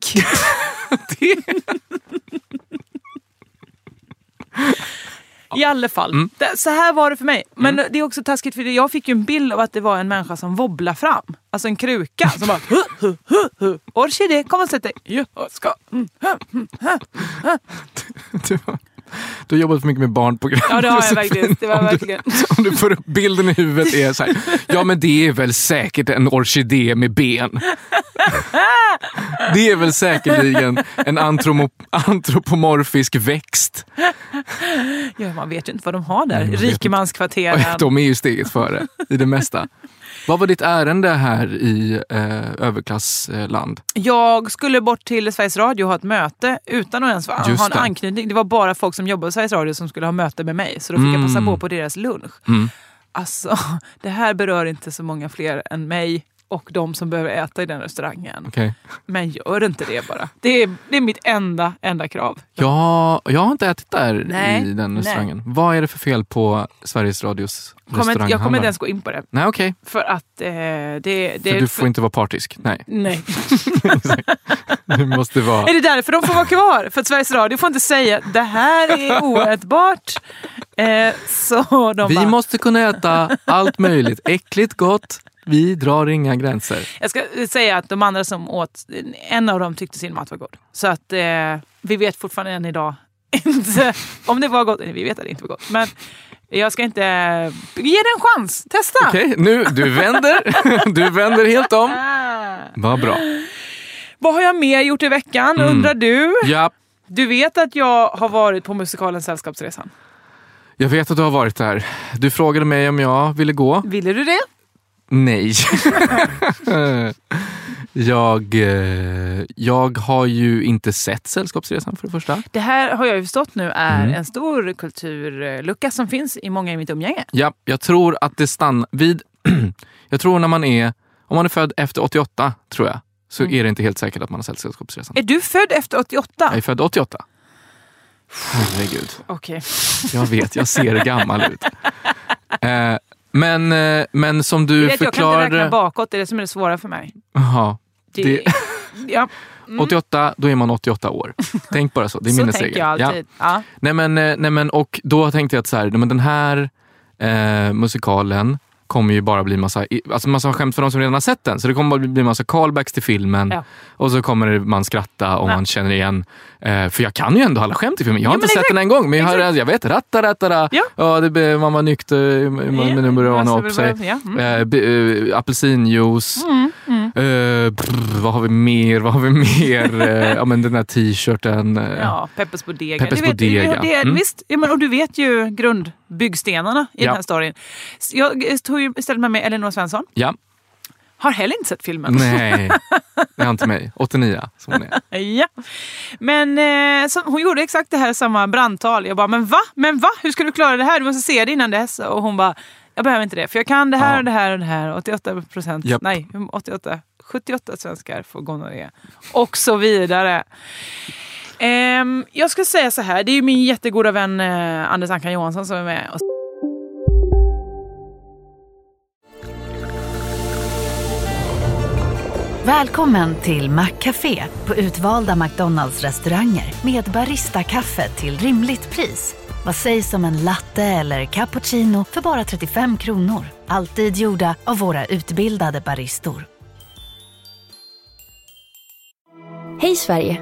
I alla fall.
Mm.
Det, så här var det för mig. Men det är också taskigt för jag fick ju en bild av att det var en människa som wobblar fram. Alltså en kruka som bara... Hu, hu, hu, hu. Orkidé, kom och sätt dig. Jag ska. Mm.
Du, har- du har jobbat för mycket med barnprogram.
Ja det har jag
Josefin.
verkligen. Det var verkligen.
Om du får upp bilden i huvudet är så här, ja men det är väl säkert en orkidé med ben. Det är väl säkerligen en antromo- antropomofisk växt.
Ja, man vet ju inte vad de har där.
Nej, man vet
Rikemanskvarteren.
De är ju steget före i det mesta. Vad var ditt ärende här i eh, överklassland?
Jag skulle bort till Sveriges Radio och ha ett möte utan att ens ha
Just
en
det.
anknytning. Det var bara folk som jobbade på Sveriges Radio som skulle ha möte med mig. Så då fick jag passa på på deras lunch.
Mm.
Alltså, det här berör inte så många fler än mig och de som behöver äta i den restaurangen.
Okej.
Men gör inte det bara. Det är, det är mitt enda, enda krav.
Ja, jag har inte ätit där
Nej,
i den
nej.
restaurangen. Vad är det för fel på Sveriges Radios
Kommer inte- jag kommer
restauranghandlare?
inte ens gå in på det.
Nej, okej.
För att eh, det... det
För du får inte vara partisk. Nej,
Nej.
du måste vara...
Är det därför de får vara kvar? För att Sveriges Radio får inte säga det här är oätbart. Eh, så de
Vi
bara,
måste kunna äta allt möjligt. Äckligt, gott. Vi drar inga gränser.
Jag ska säga att de andra som åt, en av dem tyckte sin mat var god. Så att eh, vi vet fortfarande än idag inte om det var gott. Nej, vi vet att det inte var gott. Men jag ska inte... eh, Ge det en chans! Testa!
Okej, nu, du vänder. Du vänder helt om.
Ah.
Vad bra.
Vad har jag mer gjort i veckan undrar du?
Mm. Ja,
Du vet att jag har varit på musikalen Sällskapsresan.
jag vet att du har varit där. Du frågade mig om jag ville gå.
Ville du det?
Nej. Jag, eh, jag har ju inte sett Sällskapsresan för det första.
Det här har jag ju förstått nu är
Mm.
en stor kulturlucka som finns i många i mitt umgänge.
Ja, jag tror att det stannar vid... jag tror när man är... Om man är född efter 88, tror jag, så
Mm.
är det inte helt säkert att man har sett Sällskapsresan.
Är du född efter 88?
Jag är född 88. Herregud.
Okej.
Jag vet, jag ser gammal ut. Eh, men, eh, men som du
Du vet, jag kan inte räkna
förklarade...
bakåt, det är det som är det svåra för mig.
Jaha,
Det,
Det-
ja,
88, då är man 88 år. Tänk bara så, det är
Mm. så
minnesregeln.
tänker jag
Ja.
alltid. Ja.
Nej men, eh, nej men, och då tänkte jag att så här, nej men den här eh, musikalen kommer ju bara bli massa, i- alltså massa skämt för de som redan har sett den. Så det kommer bara bli massa callbacks till filmen
Ja.
och så kommer det- man skratta om
Ja.
man känner igen. Eh, för jag kan ju ändå alla skämt i filmen. Jag har
Ja,
inte
men
sett den en gång men jag, har, jag vet ratta ratta ra.
Ja.
det, be- man var nykter, man
Ja,
ja. började ana
alltså,
upp sig.
ja, mm.
Eh, be- eh, apelsinjuice. Eh, brr, vad har vi mer? Vad har vi mer? Eh, ja, men den där t-shirten. eh,
Ja, Peppes Bodega.
Peppes
Du vet,
Bodega.
Det, det,
Mm.
Visst, ja, men, och du vet ju grundbyggstenarna i
Ja.
den här storyn. Så Jag tog ju istället med mig Elinor Svensson.
ja.
Har heller inte sett filmen.
Nej, det är inte mig. 89 som hon är.
Ja. Men eh, så, hon gjorde exakt det här samma brandtal. Jag bara, men va? Men va? Hur ska du klara det här? Du måste se det innan dess. Och hon bara, jag behöver inte det. För jag kan det här
Ja.
och det här och det här. 88 procent.
Japp.
Nej, 88. 78 svenskar får gonorré. Och så vidare. Ehm, jag ska säga så här, det är ju min jättegoda vän eh, Anders Ankan Johansson som är med. Och
Välkommen till Maccafé på utvalda McDonalds restauranger med Baristakaffe till rimligt pris. Vad sägs om en latte eller cappuccino för bara 35 kronor? Alltid gjorda av våra utbildade baristor.
Hej Sverige!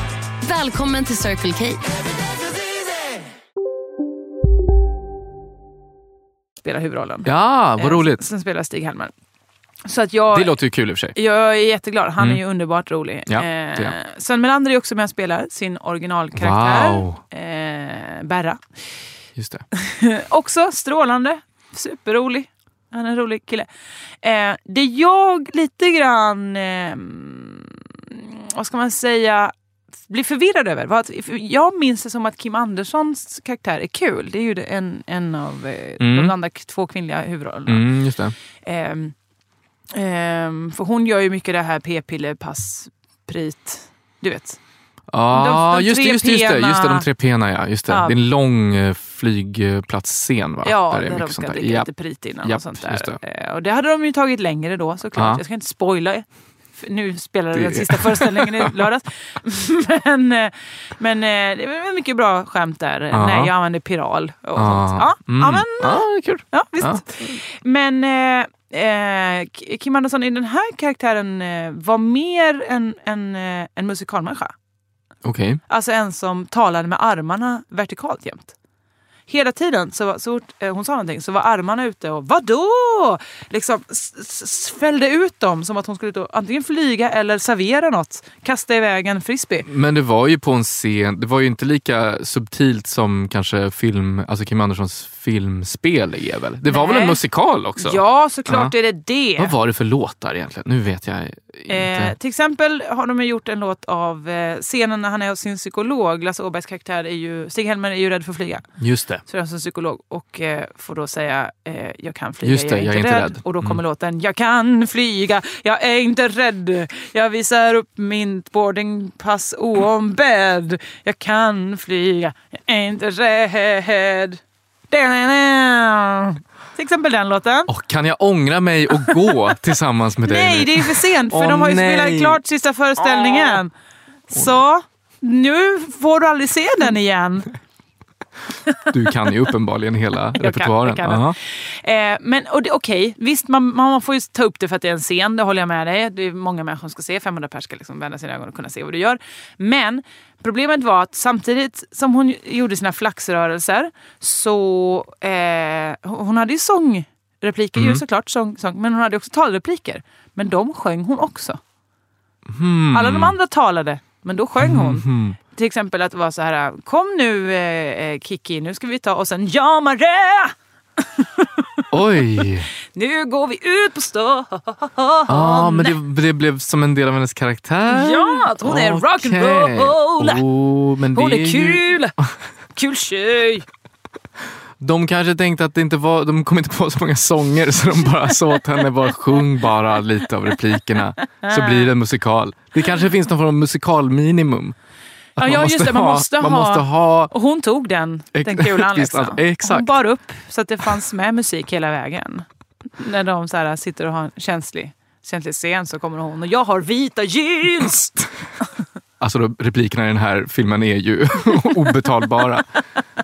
Välkommen till Circle K.
Spelar huvudrollen.
Ja, vad
Eh,
roligt.
Sen spelar Stig Helmer. Så att jag,
Det låter ju kul i och för sig.
jag är jätteglad. Han
Mm.
är ju underbart rolig.
Ja, det
Eh,
är han.
Sven Melander är också med och spelar sin originalkaraktär.
Wow.
Eh, Berra. Eh,
Just det.
Också strålande. Superrolig. Han är en rolig kille. Eh, det jag lite grann, eh, vad ska man säga, blir förvirrad över. var att- för Jag minns det som att Kim Anderssons karaktär är kul. Det är ju det- en, en av eh,
Mm.
de andra k- två kvinnliga huvudrollerna.
Mm, just det.
Ehm, ehm, för hon gör ju mycket det här p-piller, pass, prit. Du vet.
Ja,
de
just det,
tre
just det, just det, just det.
pena.
De tre pena, ja. Just det.
Ja.
det är en lång eh, flygplatsscen, va?
Ja,
är
där, de
mycket
ska
sånt där.
dricka
Ja.
lite prit innan
Japp,
och sånt där.
just
Eh, Och det hade de ju tagit längre då såklart.
Ja.
Jag ska inte spoila. för Nu spelar
Det-
den sista föreställningen i lördags. men, eh, men eh, det var mycket bra skämt där.
Ja.
Nej, jag använde piral och sånt.
Ja.
Ja,
Mm.
ja, men,
det är kul.
ja visst. Men eh, eh, K- Kim Andersson i den här karaktären eh, var mer en, en, eh, en musikalmänniska.
Okej.
Alltså en som talade med armarna vertikalt jämt. Hela tiden, så, var- så fort eh, hon sa någonting, så var armarna ute och vadå? Liksom s- s- s- fällde ut dem som att hon skulle ut och antingen flyga eller servera något. Kasta iväg en frisbee.
Men det var ju på en scen, det var ju inte lika subtilt som kanske film, alltså Kim Anderssons filmspel är väl? Det var väl en
Nej.
musikal också?
Ja, såklart
Ja.
är det det.
Vad var det för låtar egentligen? Nu vet jag inte.
Eh, till exempel har de ju gjort en låt av eh, scenen när han är hos sin psykolog. Lasse Åbergs karaktär är ju, Stig-Helmer är ju rädd för att flyga.
Just det.
Så är han som psykolog och eh, får då säga eh, jag kan flyga,
Just det,
jag, är inte rädd. Mm. Och då kommer låten jag kan flyga, jag är inte rädd. Jag visar upp mitt boardingpass oombedd. Jag kan flyga, jag är inte rädd. Da-da-da. Till exempel den låten.
Och kan jag ångra mig och gå tillsammans med dig?
Nej, det är för sent för
Åh,
de har ju
nej.
spelat klart sista föreställningen. Så nu får du aldrig se den igen.
Du kan ju uppenbarligen hela
Jag kan-
repertoaren.
jag kan den.
Aha.
Eh, men och det- okej, visst man, man får ju ta upp det för att det är en scen, det håller jag med dig. Det är många människor som ska se, 500 pers ska liksom vända sina ögon och kunna se vad du gör. Men problemet var att samtidigt som hon gjorde sina flaxrörelser så eh, hon hade ju sångrepliker ju såklart, sång, sång, men hon hade också talrepliker. Men de sjöng hon också. Alla de andra talade, men då sjöng hon.
Mm. Hmm.
Till exempel att det var så här, kom nu eh, eh, Kiki, nu ska vi ta och sen Ja Maria!
Oj!
Nu går vi ut på stan!
ah, men det, det blev som en del av hennes karaktär?
Ja, att hon är
Okej.
rock'n'roll.
Oh, men
Hon
det
är
Ju,
kul! Kul tjej!
de kanske tänkte att det inte var, de kom inte på så många sånger så de bara sa åt henne bara sjung bara lite av replikerna så blir det en musikal. Det kanske finns någon form av musikalminimum. Att
Ja,
man
ja, just
måste
det, man
ha-
måste
man
ha-
måste ha
Och hon tog den,
Ex-
den kulan
visst,
liksom.
alltså, exakt.
Hon bar upp så att det fanns med musik hela vägen. När de så här sitter och har en känslig, känslig scen så kommer hon och jag har vita jeans!
Alltså då, replikerna i den här filmen är ju obetalbara.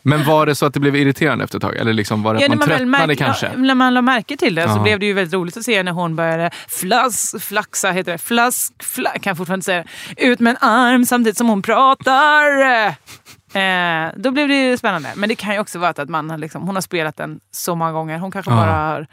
Men var det så att det blev irriterande efter ett tag? Eller liksom var det att
när
man,
väl
tröttnade
märk-
kanske?
Ja, liksom. när man la märke till det så
Ja.
blev det ju väldigt roligt att se när hon började flass, flaxa, heter det, flask, fla, kan jag fortfarande säga det, ut med en arm samtidigt som hon pratar. Eh, då blev det ju spännande. Men det kan ju också vara att man har liksom, hon har spelat den så många gånger. Hon kanske
Ja.
bara har...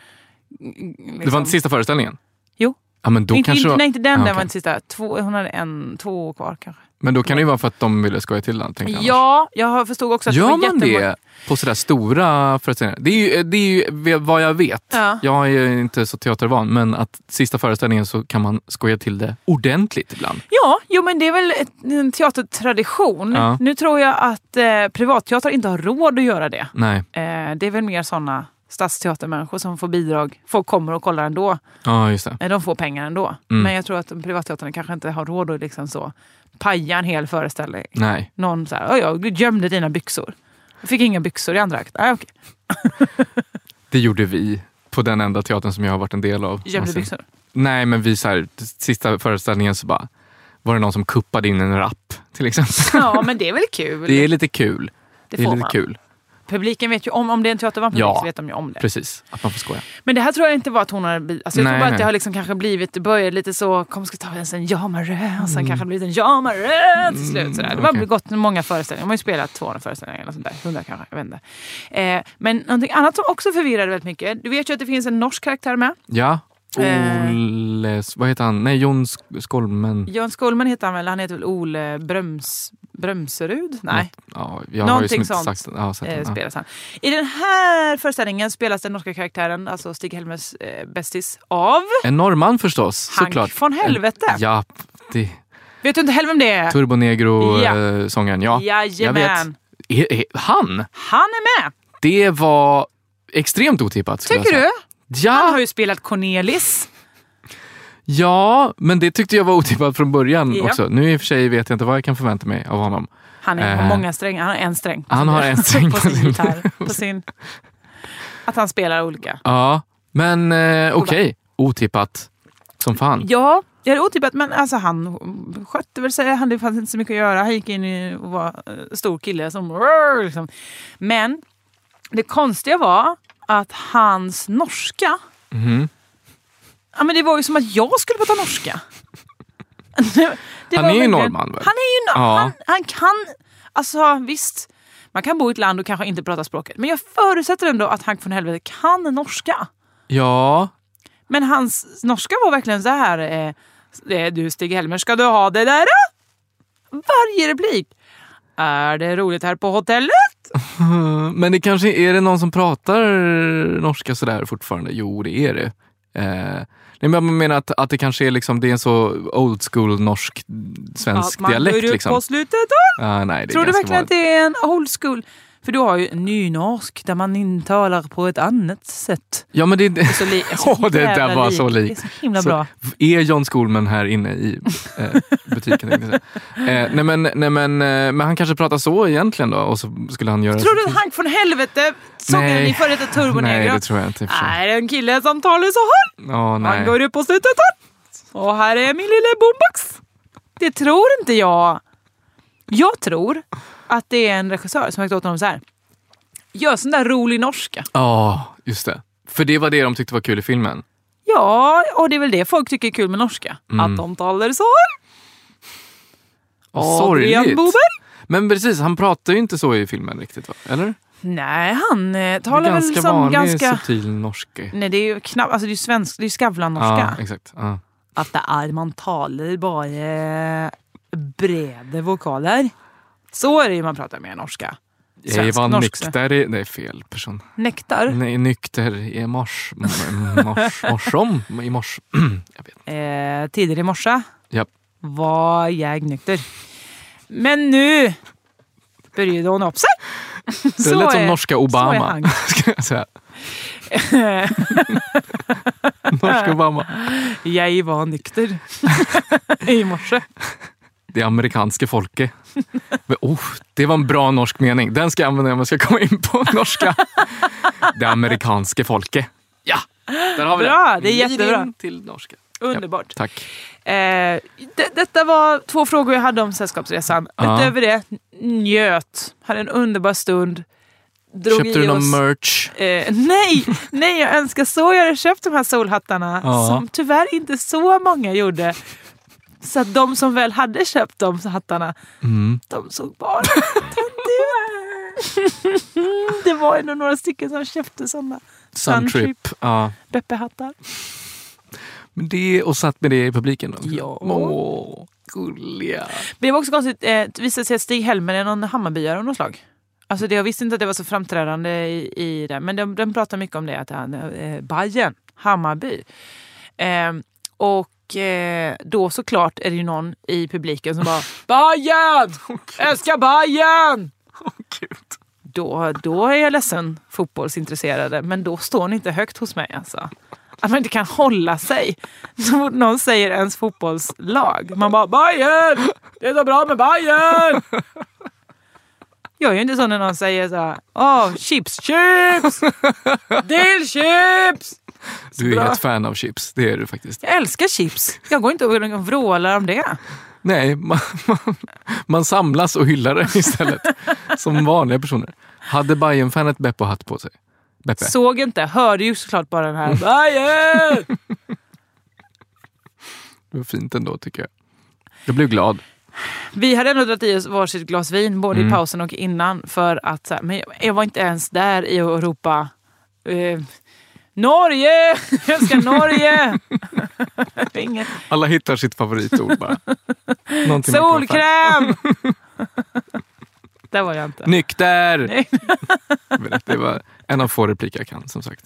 mm,
Det var inte sista föreställningen?
Jo.
Ja, men då
inte,
kanske
inte,
det var-
nej, inte den.
Ja,
den
okej.
var inte sista. Två, hon hade en, två kvar kanske.
Men då kan det ju vara för att de ville skoja till den. tänkte jag.
Ja, jag har- förstod också att det
Gör
var
man
jättemånga...
det på sådär stora föreställningar? Det är ju, det är ju vad jag vet.
Ja.
Jag är ju inte så teatervan, men att sista föreställningen så kan man skoja till det ordentligt ibland.
Ja, jo, men det är väl ett, en teatertradition.
Ja.
Nu tror jag att eh, privatteater inte har råd att göra det.
Nej,
Eh, det är väl mer såna stadsteatermänniskor som får bidrag. Folk kommer och kollar ändå.
ja just det.
Eh, de får pengar ändå.
Mm.
Men jag tror att privatteatern kanske inte har råd att liksom så paja en hel föreställning.
Nej.
Någon så här, "Oj, jag gömde dina byxor. Jag fick inga byxor i andra akt. Nej, okej.
Det gjorde vi på den enda teatern som jag har varit en del av.
Gömde
någonsin.
byxor.
Nej, men vi så här, sista föreställningen så bara var det någon som kuppade in en rapp till exempel.
Ja, men det är väl kul?
Det är lite kul.
Det
Det är
får
lite
man.
kul.
Publiken vet ju om, om det är en teatervamp
Ja.
så vet de ju om det.
Precis, att man får skoja.
Men det här tror jag inte var att hon har... bi- Alltså jag
Nej,
tror bara att
nej.
det har liksom kanske blivit, det började lite så, kom ska vi ta en sen jamare och sen kanske det blivit en jamare till slut. Sådär. Det har
Mm. okej.
gått många föreställningar, man har ju spelat 200 föreställningar eller sånt där, 100 kanske, jag vet inte. Eh, men någonting annat som också förvirrade väldigt mycket, du vet ju att det finns en norsk karaktär med.
Ja.
Eh.
Oles, vad heter han? Nej, Jon Sk- Skolmen.
Jörn Skolman heter han väl, han heter väl Ole Bröms,
Mm,
Brömserud? Nej.
Ja, jag har ju som
Någonting
inte
sånt,
sagt ja, sett
eh,
den. Ja.
spelas han. I den här föreställningen spelas den norska karaktären, alltså Stig-Helmers eh, bästis, av
En norrman förstås,
Hank
såklart.
von Helvete.
En- Ja, det,
Vet du inte heller vem det är?
Turbo
Ja.
Negro-sångaren. Ja. Jag
Jajamän.
vet. E- e- Han!
Han är med!
Det var extremt otippat. skulle
Tycker
jag säga.
du? Ah. Han har
Ja,
ju spelat Cornelis.
ja, men det tyckte jag var otippat från början
Ja.
också. Nu i och för sig vet jag inte vad jag kan förvänta mig av honom.
Han är, har
Eh.
många strängar. Han har en sträng.
Han har en sträng
på
på
sin
sin-
gitarr. På sin, att han spelar olika.
Ja, men eh, okej. Otippat som fan.
Ja, det är otippat men alltså han skötte väl sig. Han, det fanns inte så mycket att göra. Han gick in i- och var eh, stor kille. Som, "Rrr", liksom. Men det konstiga var att hans norska...
Mhm.
Ja, men det var ju som att jag skulle prata norska. Det
Han
var
är ju
verkligen-
norrman, väl?
Han är ju
Ja.
norrman. Han, han kan... Alltså visst, man kan bo i ett land och kanske inte prata språket. Men jag förutsätter ändå att Hank von Helvete kan norska.
Ja,
Men hans norska var verkligen så här. Eh, eh, du Stig-Helmer, ska du ha det där? då?" Varje replik. Är det roligt här på hotellet?
Mm, Men det kanske, är det någon som pratar norska sådär fortfarande? Jo, det är det. Eh, nej, men jag menar att, att det kanske är liksom, det är en så old school norsk svensk
Att man
dialekt.
går ut
Liksom.
på slutet. då?
Ah, nej, det är
Tror du
ganska
verkligen att
vanligt.
det är en old school? För du har ju nynorsk där man intalar på ett annat sätt.
Ja, men det, det,
Så li-
Åh, det
jävla
där var så likt.
Det är så himla
Så-
bra.
är John Skolman här inne i eh, butiken? tänkte jag säga. eh, nej, men, nej, men, eh, men han kanske pratar så egentligen då och så skulle han göra...
Tror du att Hank från helvete sångaren
Nej.
i före detta Turbo
Nej,
Negro?
det tror jag inte. i och för sig.
Nej, det är en kille som talar så här.
Ja,
Man
nej.
går upp på slutet och här är min lilla boombox. Det tror inte jag. Jag tror att det är en regissör som har sagt åt honom så här. Gör sån där rolig norska.
Ja, just det. För det var det de tyckte var kul i filmen.
Ja, och det är väl det folk tycker är kul med norska.
Mm.
Att de talar så här.
Vad
Adrian
sorgligt.
Bober?
Men precis, han pratar ju inte så i filmen riktigt va? Eller?
Nej, han eh,
Det är
talar väl
ganska
som
vanlig
ganska...
subtil norske.
Nej, det är ju knappt... Alltså det är ju svensk... Det är ju
Ja,
Skavlan-norska.
exakt. Ja.
Att det är... Man talar bara breda vokaler. Så är det ju man pratar med norska.
Jag var
norska.
nykter Mm. i... Nej, fel person.
Nektar.
Nej, nykter i mars... mars morsom? I mars... Jag vet.
eh, tidigare i morse
Ja.
var jag nykter. Men nu började hon upp sig.
Det lät som
är-
norska
så är
Obama.
han.
Ska jag säga. norska Obama.
Jag var nykter i morse.
Det amerikanske folket. Men, Oh, det var en bra norsk mening. Den ska jag använda om jag ska komma in på norska. Det amerikanske folket. Ja, där har vi
Bra,
det.
det är
Glid in
jättebra.
till norska.
Underbart.
Tack.
Eh, det, detta var två frågor jag hade om Sällskapsresan.
Ja.
Utöver det, njöt. Hade en underbar stund. Drog
Köpte
i
du
oss-
någon merch?
Eh, nej, nej, jag önskar så jag hade köpt de här solhattarna
Ja.
som tyvärr inte så många gjorde. Så att de som väl hade köpt de hattarna,
Mm.
de såg bara töntiga ut. Det var ändå några stycken som köpte sådana
Suntrip.
Suntrip.
Ja.
Beppe-hattar.
Men det, och satt med det i publiken? Då.
Ja.
Åh, gulliga.
Men det var också konstigt, eh, det visade sig att Stig-Helmer är någon Hammarbyare av något slag. Alltså det, jag visste inte att det var så framträdande i, i det. Men de, de pratar mycket om det, att han, eh, Bajen, Hammarby. Eh, och eh, då såklart är det ju någon i publiken som bara Bajen! Älskar Bajen! Då, då är jag ledsen fotbollsintresserade, men då står ni inte högt hos mig alltså. Att man inte kan hålla sig så fort någon säger ens fotbollslag. Man bara Bayern! Det är så bra med Bayern! Jag är ju inte så när någon säger så här, åh, chips, chips! Dillchips!
Du är
Bra.
ett fan av chips, det är du faktiskt.
Jag älskar chips. Jag går inte och vrålar om det.
Nej, man, man, man samlas och hyllar det istället. som vanliga personer. Hade Bajen-fanet Beppo hatt på sig? Beppe?
Såg inte, hörde ju såklart bara den här Bayern!
Det var fint ändå tycker jag. Jag blev glad.
Vi hade ändå dragit i oss varsitt glas vin, både i
Mm.
pausen och innan. För att, så här, men jag- jag var inte ens där i Europa. Eh, Norge! Jag älskar Norge! Ingen-
Alla hittar sitt favoritord bara. Någonting man kan-
Solkräm! där var jag inte.
Nykter!
Nej.
det var en av få repliker jag kan som sagt.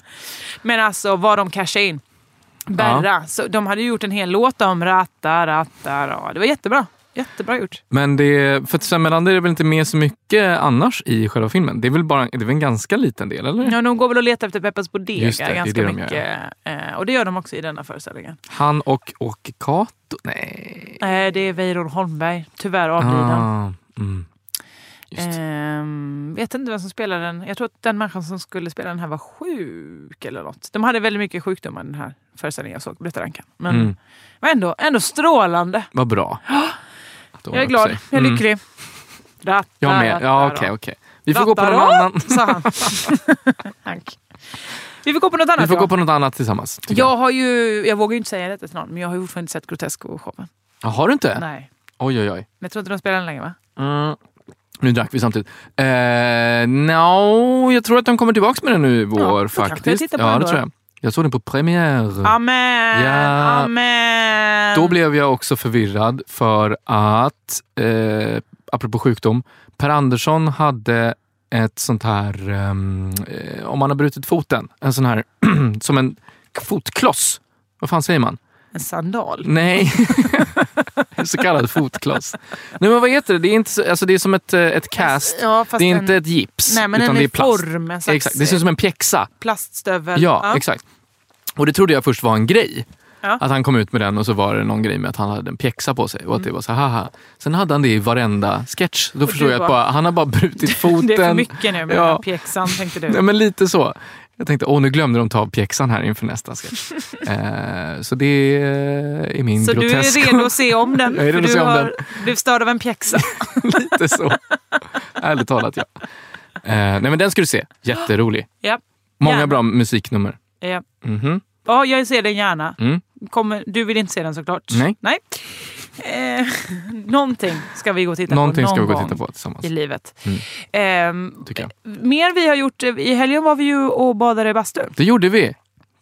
Men alltså vad de cashade in. Berra. Så de hade ju gjort en hel låt om ratta, ratta, ra. Det var jättebra. Jättebra gjort.
Men det, för att Sven Melander är väl inte med så mycket annars i själva filmen? Det är väl bara det är väl en ganska liten del, eller?
Ja, de går väl och letar efter Peppas Bodega
Mm. Just det, det är
ganska
det de
mycket. Eh, och det gör de också i denna föreställningen.
Han och Åke Kato? Nej.
Eh, det är Weiron Holmberg, tyvärr avliden.
Ah, mm. just det.
Ehm, vet inte vem som spelar den. Jag tror att den människan som skulle spela den här var sjuk eller något. De hade väldigt mycket sjukdomar den här föreställningen jag såg, Britta Rankan. Men
Mm.
var ändå, ändå strålande.
Vad bra. Då
Jag är
upp
glad,
sig.
jag är
Mm.
lycklig. Ratta,
Jag med.
ratta,
Ja,
ratta.
okej, okej. Vi får gå på
Ratta,
någon
ratta,
annan.
sa han. Hank. Vi får gå på något annat.
Vi får
ja.
gå på något annat tillsammans. tycker
jag, har ju, jag vågar ju inte säga detta till någon, men jag har ju fortfarande inte sett Grotesco-showen.
jag. Har du inte?
Nej.
Oj, oj, oj.
Men jag tror inte de spelar den längre va?
Mm. Nu drack vi samtidigt. Eh, no, jag tror att de kommer tillbaka med den nu i vår
då kanske
faktiskt.
jag tittar på
ja,
den
det
då.
tror jag. Jag såg den på premiär.
Amen!
Ja.
Amen!
Då blev jag också förvirrad för att, eh, apropå sjukdom, Per Andersson hade ett sånt här, ehm, eh, om man har brutit foten, en sån här, som en fotkloss. Vad fan säger man?
En sandal.
Nej. En så kallad fotkloss. Nej men vad heter det? Det är, inte så, alltså det är som ett, eh, ett cast.
Ja, fast
Det är
en-
inte ett gips.
Nej, men
utan
en
det är plast.
form. En slags
Exakt. Det ser ut som en pjäxa.
plaststövel.
Ja, exakt. Och det trodde jag först var en grej.
Ja.
Att han kom ut med den och så var det någon grej med att han hade en pjäxa på sig. Och
Mm.
att det var så här, haha. Sen hade han det i varenda sketch. Då förstod
du
jag
bara-
att bara, han har bara brutit foten.
Det är för mycket nu med
Ja.
den här pjäxan, tänkte du.
Nej, men lite så. Jag tänkte, åh nu glömde de ta av pjäxan här inför nästa sketch. eh, så det är min
Så du
groteska...
är redo att se om den?
Jag är redo
för
att
du
se om
har
den.
blivit störd av en pjäxa.
lite så. Ärligt talat, ja. Eh, nej, men den ska du se. Jätterolig.
Ja.
Många
Gärna.
bra musiknummer.
Ja.
Mhm.
ja, jag ser den gärna.
Mm.
Kommer, du vill inte se den såklart?
Nej.
Nej. Eh, någonting ska vi gå och titta
Någonting
på
ska vi
någon
gå och titta
gång
på tillsammans,
i livet.
Mm.
Ehm,
tycker jag.
mer vi har gjort, i helgen var vi ju och badade i bastu.
Det gjorde vi.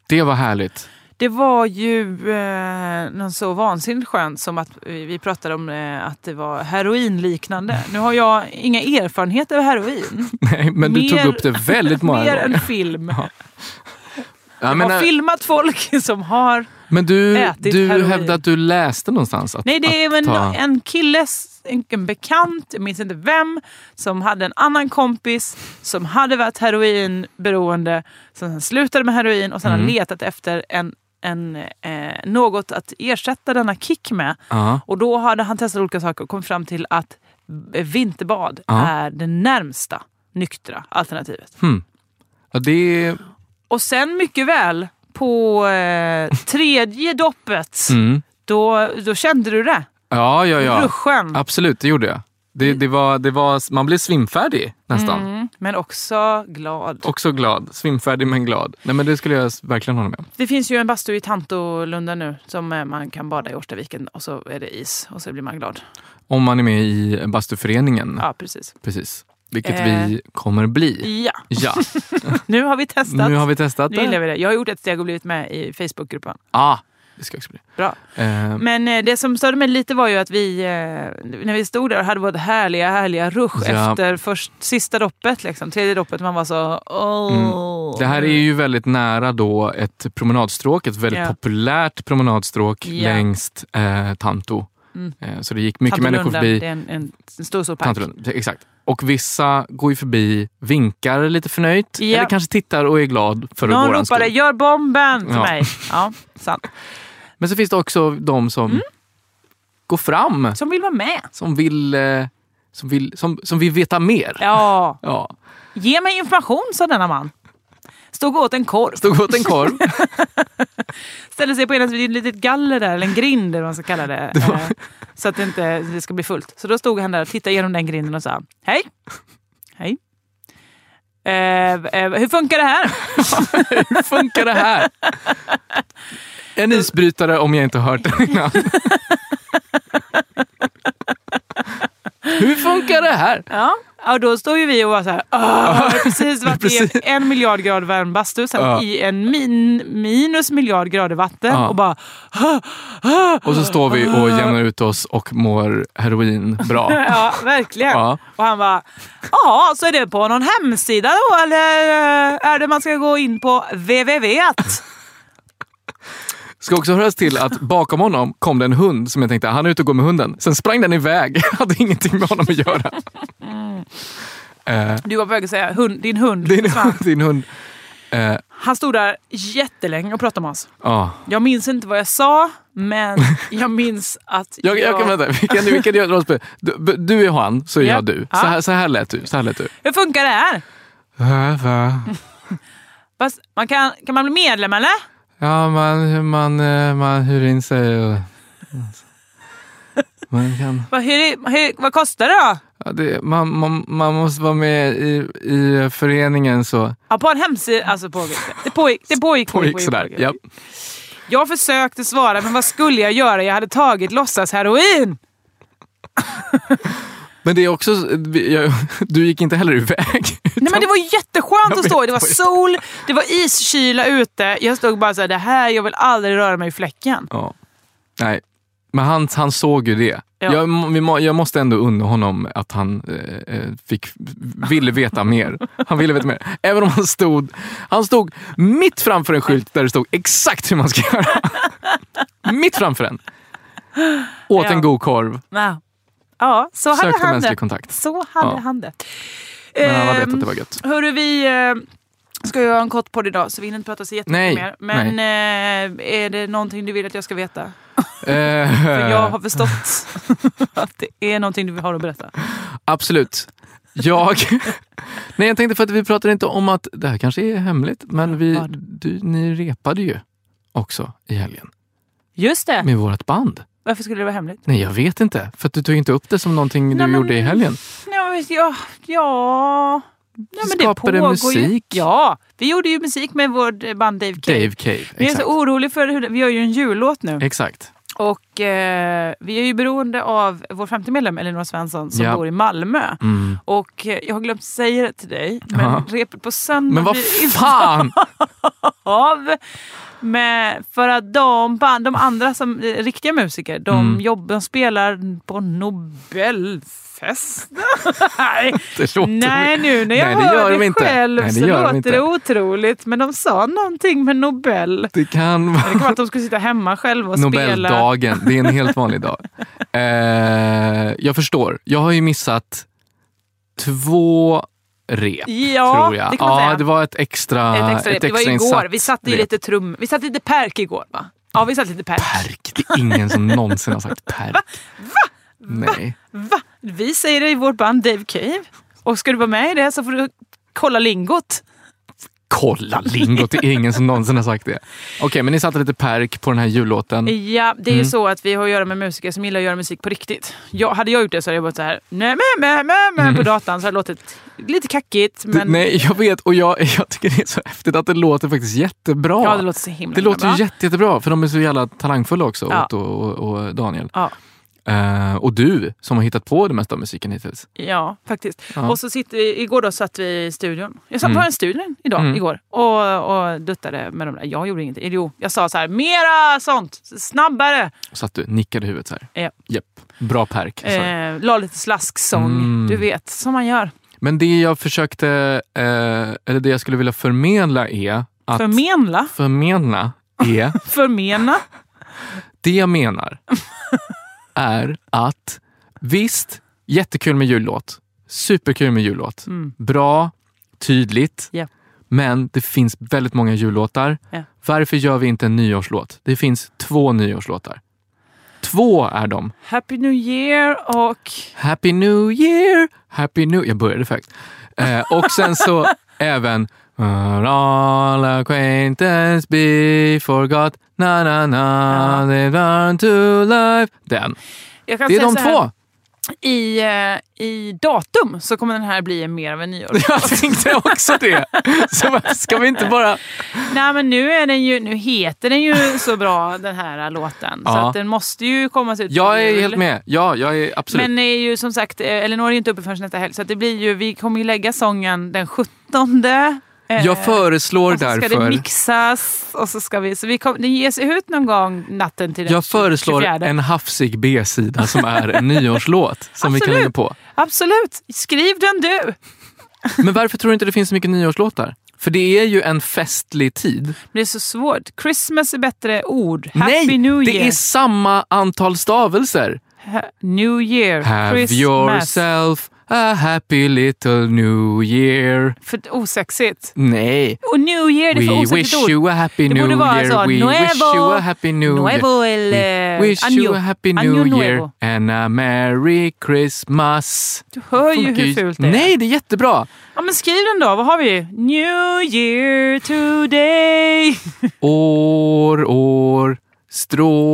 Det var härligt.
Det var ju eh, något så vansinnigt skönt som att vi, vi pratade om eh, att det var heroinliknande. Nu har jag inga erfarenheter av heroin.
Nej, men du
Mer-
tog upp det väldigt många
Mer
gånger.
än film.
Ja,
Jag
men,
har
eh,
filmat folk som har...
men du,
ätit
du
heroin.
hävdade att du läste någonstans. Att,
Nej, det är
att
en,
ta...
en killes, en, en bekant, jag minns inte vem, som hade en annan kompis som hade varit heroinberoende, som sen slutade med heroin och sen
Mm.
har letat efter en, en, eh, något att ersätta denna kick med.
Ja.
Och då hade han testat olika saker och kom fram till att eh, vinterbad
Ja.
är det närmsta nyktra alternativet.
Ja, det...
Och sen mycket väl på eh, tredje doppet,
Mm.
då, då kände du det.
ja, ja, ja.
Ruschen.
Absolut, det gjorde jag. Det, det var, det var, man blev svimfärdig nästan.
Mm, men också glad.
Också glad. Svimfärdig men glad. Nej, men Det skulle jag verkligen hålla med om.
Det finns ju en bastu i Tantolunda nu som eh, man kan bada i Årstaviken och så är det is och så blir man glad.
Om man är med i bastuföreningen.
Ja, precis.
Precis. Vilket
Eh.
vi kommer bli.
Ja,
Ja,
nu har vi testat.
nu har vi testat
Nu gillar
det.
vi det. Jag har gjort ett steg och blivit med i Facebookgruppen.
Ah, det ska också bli.
Bra.
Eh,
Men eh, det som störde mig lite var ju att vi, eh, när vi stod där och hade vårt härliga, härliga rush
Ja.
efter först, sista doppet, liksom, tredje doppet, man var så... Åh.
Mm. Det här är ju väldigt nära då ett promenadstråk, ett väldigt
Ja.
populärt promenadstråk
Ja.
längst eh, Tanto.
Mm.
Eh, så det gick mycket
Tantolunden,
människor förbi
Det är en, en, en stor, stor park.
Tantolund. Exakt. Och vissa går ju förbi, vinkar lite förnöjt
Ja.
eller kanske tittar och är glad för
Någon
våran
ropade
skull.
“Gör bomben!” till
Ja.
mig. Ja, sant.
Men så finns det också de som
Mm.
går fram,
Som vill vara med.
som vill, eh, som vill, som, som vill veta mer.
Ja,
Ja.
ge mig information, sa denna man. Stod och åt en korv.
Stod åt en korv.
Ställde sig på ena sidan, det är ett litet galler där, eller en grind eller vad man ska kalla det. eh, Så att det inte det ska bli fullt. Så då stod han där och tittade genom den grinden och sa Hej! Hej! Eh, eh, hur funkar det här?
Hur funkar det här? En isbrytare om jag inte hört den innan. Hur funkar det här?
Ja, och då står ju vi och var så här, "Åh, det har precis varit
Precis.
i en miljard grader varm bastu, sen
Ja.
i en min, minus miljard grader vatten
Ja.
och bara
Och så står vi och jämnar ut oss och mår heroin bra.
Ja, verkligen.
Ja.
Och han bara, ja, så är det på någon hemsida då eller eh, är det man ska gå in på www?
Ska också höras till att bakom honom kom det en hund som jag tänkte, "Ah, han är ute och går med hunden. Sen sprang den iväg. Jag hade ingenting med honom att göra. Eh,
Du var på väg att säga hund, din hund.
din,
försvann.
din hund. Eh,
Han stod där jättelänge och pratade med oss.
ja.
Jag minns inte vad jag sa, men jag minns att
jag, jag kan vänta. Vi kan, vi kan göra ett rollspel. Du, du är han, så är
Ja.
jag du. Så
Ja.
här, så här lät du. Så här lät du.
Hur funkar det här? Fast man kan, kan man bli medlem eller?
Ja, man, man, eh, man hyr in sig och... Man, kan,
Vad, hur, hur, vad kostar det då?
ja, det, man, man, man måste vara med i, i föreningen så...
Ja, på en hemsida. Alltså pågick det. Det pågick. Det pågick,
Pågick sådär.
pågick.
Ja.
Jag försökte svara, men vad skulle jag göra? Jag hade tagit låtsas heroin.
Men det är också... vi- Jag, du gick inte heller iväg.
Nej, men det var jätteskönt
Jag
att stå i.
vet
Det var
vad jag-
sol, det var iskyla ute. Jag stod bara så här, det här, jag vill aldrig röra mig i fläcken.
Ja. Nej, men han, han såg ju det.
Ja.
Jag, må- vi må, jag måste ändå unna honom att han eh, eh, fick, ville veta mer. Han ville veta mer. Även om han stod, han stod mitt framför en skylt där det stod exakt hur man ska göra. mitt framför den. Åt
Ja.
en god korv,
Ja, ja så hade
sökte
han
mänsklig
det.
kontakt.
Så hade
Ja.
han det.
Men han hade vetat
Ehm,
att det var gött.
Hörru, vi eh, ska ju ha en kort podd idag så vi hinner inte prata så jättemycket
Nej,
mer. Men eh, är det någonting du vill att jag ska veta? Ehm, För
Eh,
jag har förstått att det är någonting du har att berätta.
Absolut. Jag... Nej, jag tänkte för att vi pratade inte om att det här kanske är hemligt, men vi,
Vad?
du, ni repade ju också i helgen
Just det!
med vårt band.
Varför skulle det vara hemligt?
Nej, jag vet inte. För att du tog inte upp det som någonting du
Nej, men-
gjorde i helgen.
Nej, men visst, ja... ja. Nej, men det
skapade
pågår
musik.
Ju. Ja, vi gjorde ju musik med vårt band Dave K.
Dave Cave.
Vi är så
Exakt.
orolig för hur det, vi gör ju en jullåt nu
Exakt.
och eh, vi är ju beroende av vår femte medlem Elinor Svensson som
Ja.
bor i Malmö.
Mm.
Och eh, jag har glömt säga det till dig, men
Ja.
repet på söndag
Men vad
blir inte
fan!
av. Med, för att de, band, de andra som eh, riktiga musiker, de,
Mm.
jobb, de spelar på Nobelfest. Nej.
Det låter...
Nej nu när
Nej,
jag
det
hör
gör de
det
inte.
själv
Nej, det
så
gör de
låter
inte.
det otroligt. Men de sa någonting med Nobel.
Det kan
Det
vara
kan vara att de skulle sitta hemma själva och spela.
Nobeldagen. Det är en helt vanlig dag. Eh, jag förstår. Jag har ju missat två rep.
Ja,
tror jag.
det kan man
ja,
säga.
det var ett extra,
Ah, ett extra, rep. det var igår.
insats.
Vi satte ju
rep.
lite trum... Vi satte lite perk igår va? Ja, vi satte lite perk.
Perk. Det är ingen som någonsin har sagt perk. Va? Nej.
Va? Vi säger det i vårt band Dave Cave. Och ska du vara med i det så får du kolla lingot.
Kolla lingot, det är ingen som någonsin har sagt det. Okej, men ni satte lite perk på den här jullåten.
Ja, det är ju så att vi har att göra med musiker som gillar att göra musik på riktigt. Jag, hade jag gjort det så hade jag varit så här, nej, nej, nej, nej, på datan så hade det låtit lite kackigt.
Det-
Men
Nej, jag vet och jag, jag tycker det är så häftigt att det låter faktiskt jättebra.
ja, det låter så himla
det låter
himla
ju jätte, jättebra för de är så jävla talangfulla också,
Ja.
Otto och, och Daniel.
Ja.
Eh, och du som har hittat på det mesta av musiken hittills.
Ja, faktiskt.
Ja.
Och så sitter vi, igår då satt vi i studion. Jag satt
Mm.
på en studion idag,
Mm.
igår och, och duttade med de där. Jag gjorde ingenting. Jo, jag sa så här, mera sånt! Snabbare!
Och satt du nickade huvudet så här.
Ja.
Japp. Bra perk. sa du.
Eh, la lite slasksång,
Mm.
du vet, som man gör.
Men det jag försökte, eh, eller det jag skulle vilja förmedla är att
Förmenla,
förmedla är
förmena.
Det jag menar är att visst, jättekul med jullåt. Superkul med jullåt.
Mm.
Bra, tydligt.
Ja.
Men det finns väldigt många jullåtar.
Ja.
Varför gör vi inte en nyårslåt? Det finns två nyårslåtar. Två är de.
Happy New Year och...
Happy New Year, Happy New... Jag började faktiskt. Eh, och sen så även... Will all acquaintance be forgot? Na, na, na, they learn to live. Den.
Jag kan
Det är
säga
de
så här,
två.
I, eh, I datum så kommer den här bli mer av en nyår.
Jag tänkte också det. Så varför ska vi inte bara...
Nej men nu, är den ju, nu heter den ju så bra den här eh, låten. Så
Ja.
att den måste ju kommas ut på
Jag är
jul.
helt med. Ja, jag är absolut.
Men det är ju som sagt, eh, Elinor är ju inte uppe förrän nästa helg så att det blir ju, vi kommer ju lägga sången den 17. eh,
jag föreslår
och så ska det
därför...
mixas och så ska vi... Så vi kom, det ges ut någon gång natten till den
Jag föreslår
24.
en hafsig B-sida som är en nyårslåt som vi kan
Absolut.
lägga på.
Absolut! Skriv den du!
Men varför tror du inte det finns så mycket nyårslåtar? För det är ju en festlig tid.
Det är så svårt. Christmas är bättre ord. Happy New
det
Year.
är samma antal stavelser.
Ha- New Year.
Have
Christmas.
yourself a happy little new year.
För osexigt.
Nej.
Och New Year, det är för
We
osexigt
wish
ord.
you a happy
Det
new
borde vara
year.
så,
We wish
nuevo-
you a happy new year.
Nuevo eller
We wish
año.
you a happy
Año
new year
nuevo.
and a merry Christmas.
Du hör ju
Funkar
hur fult det är.
Nej, det är jättebra.
Ja, men skriv den då. Vad har vi? New year today.
År, år,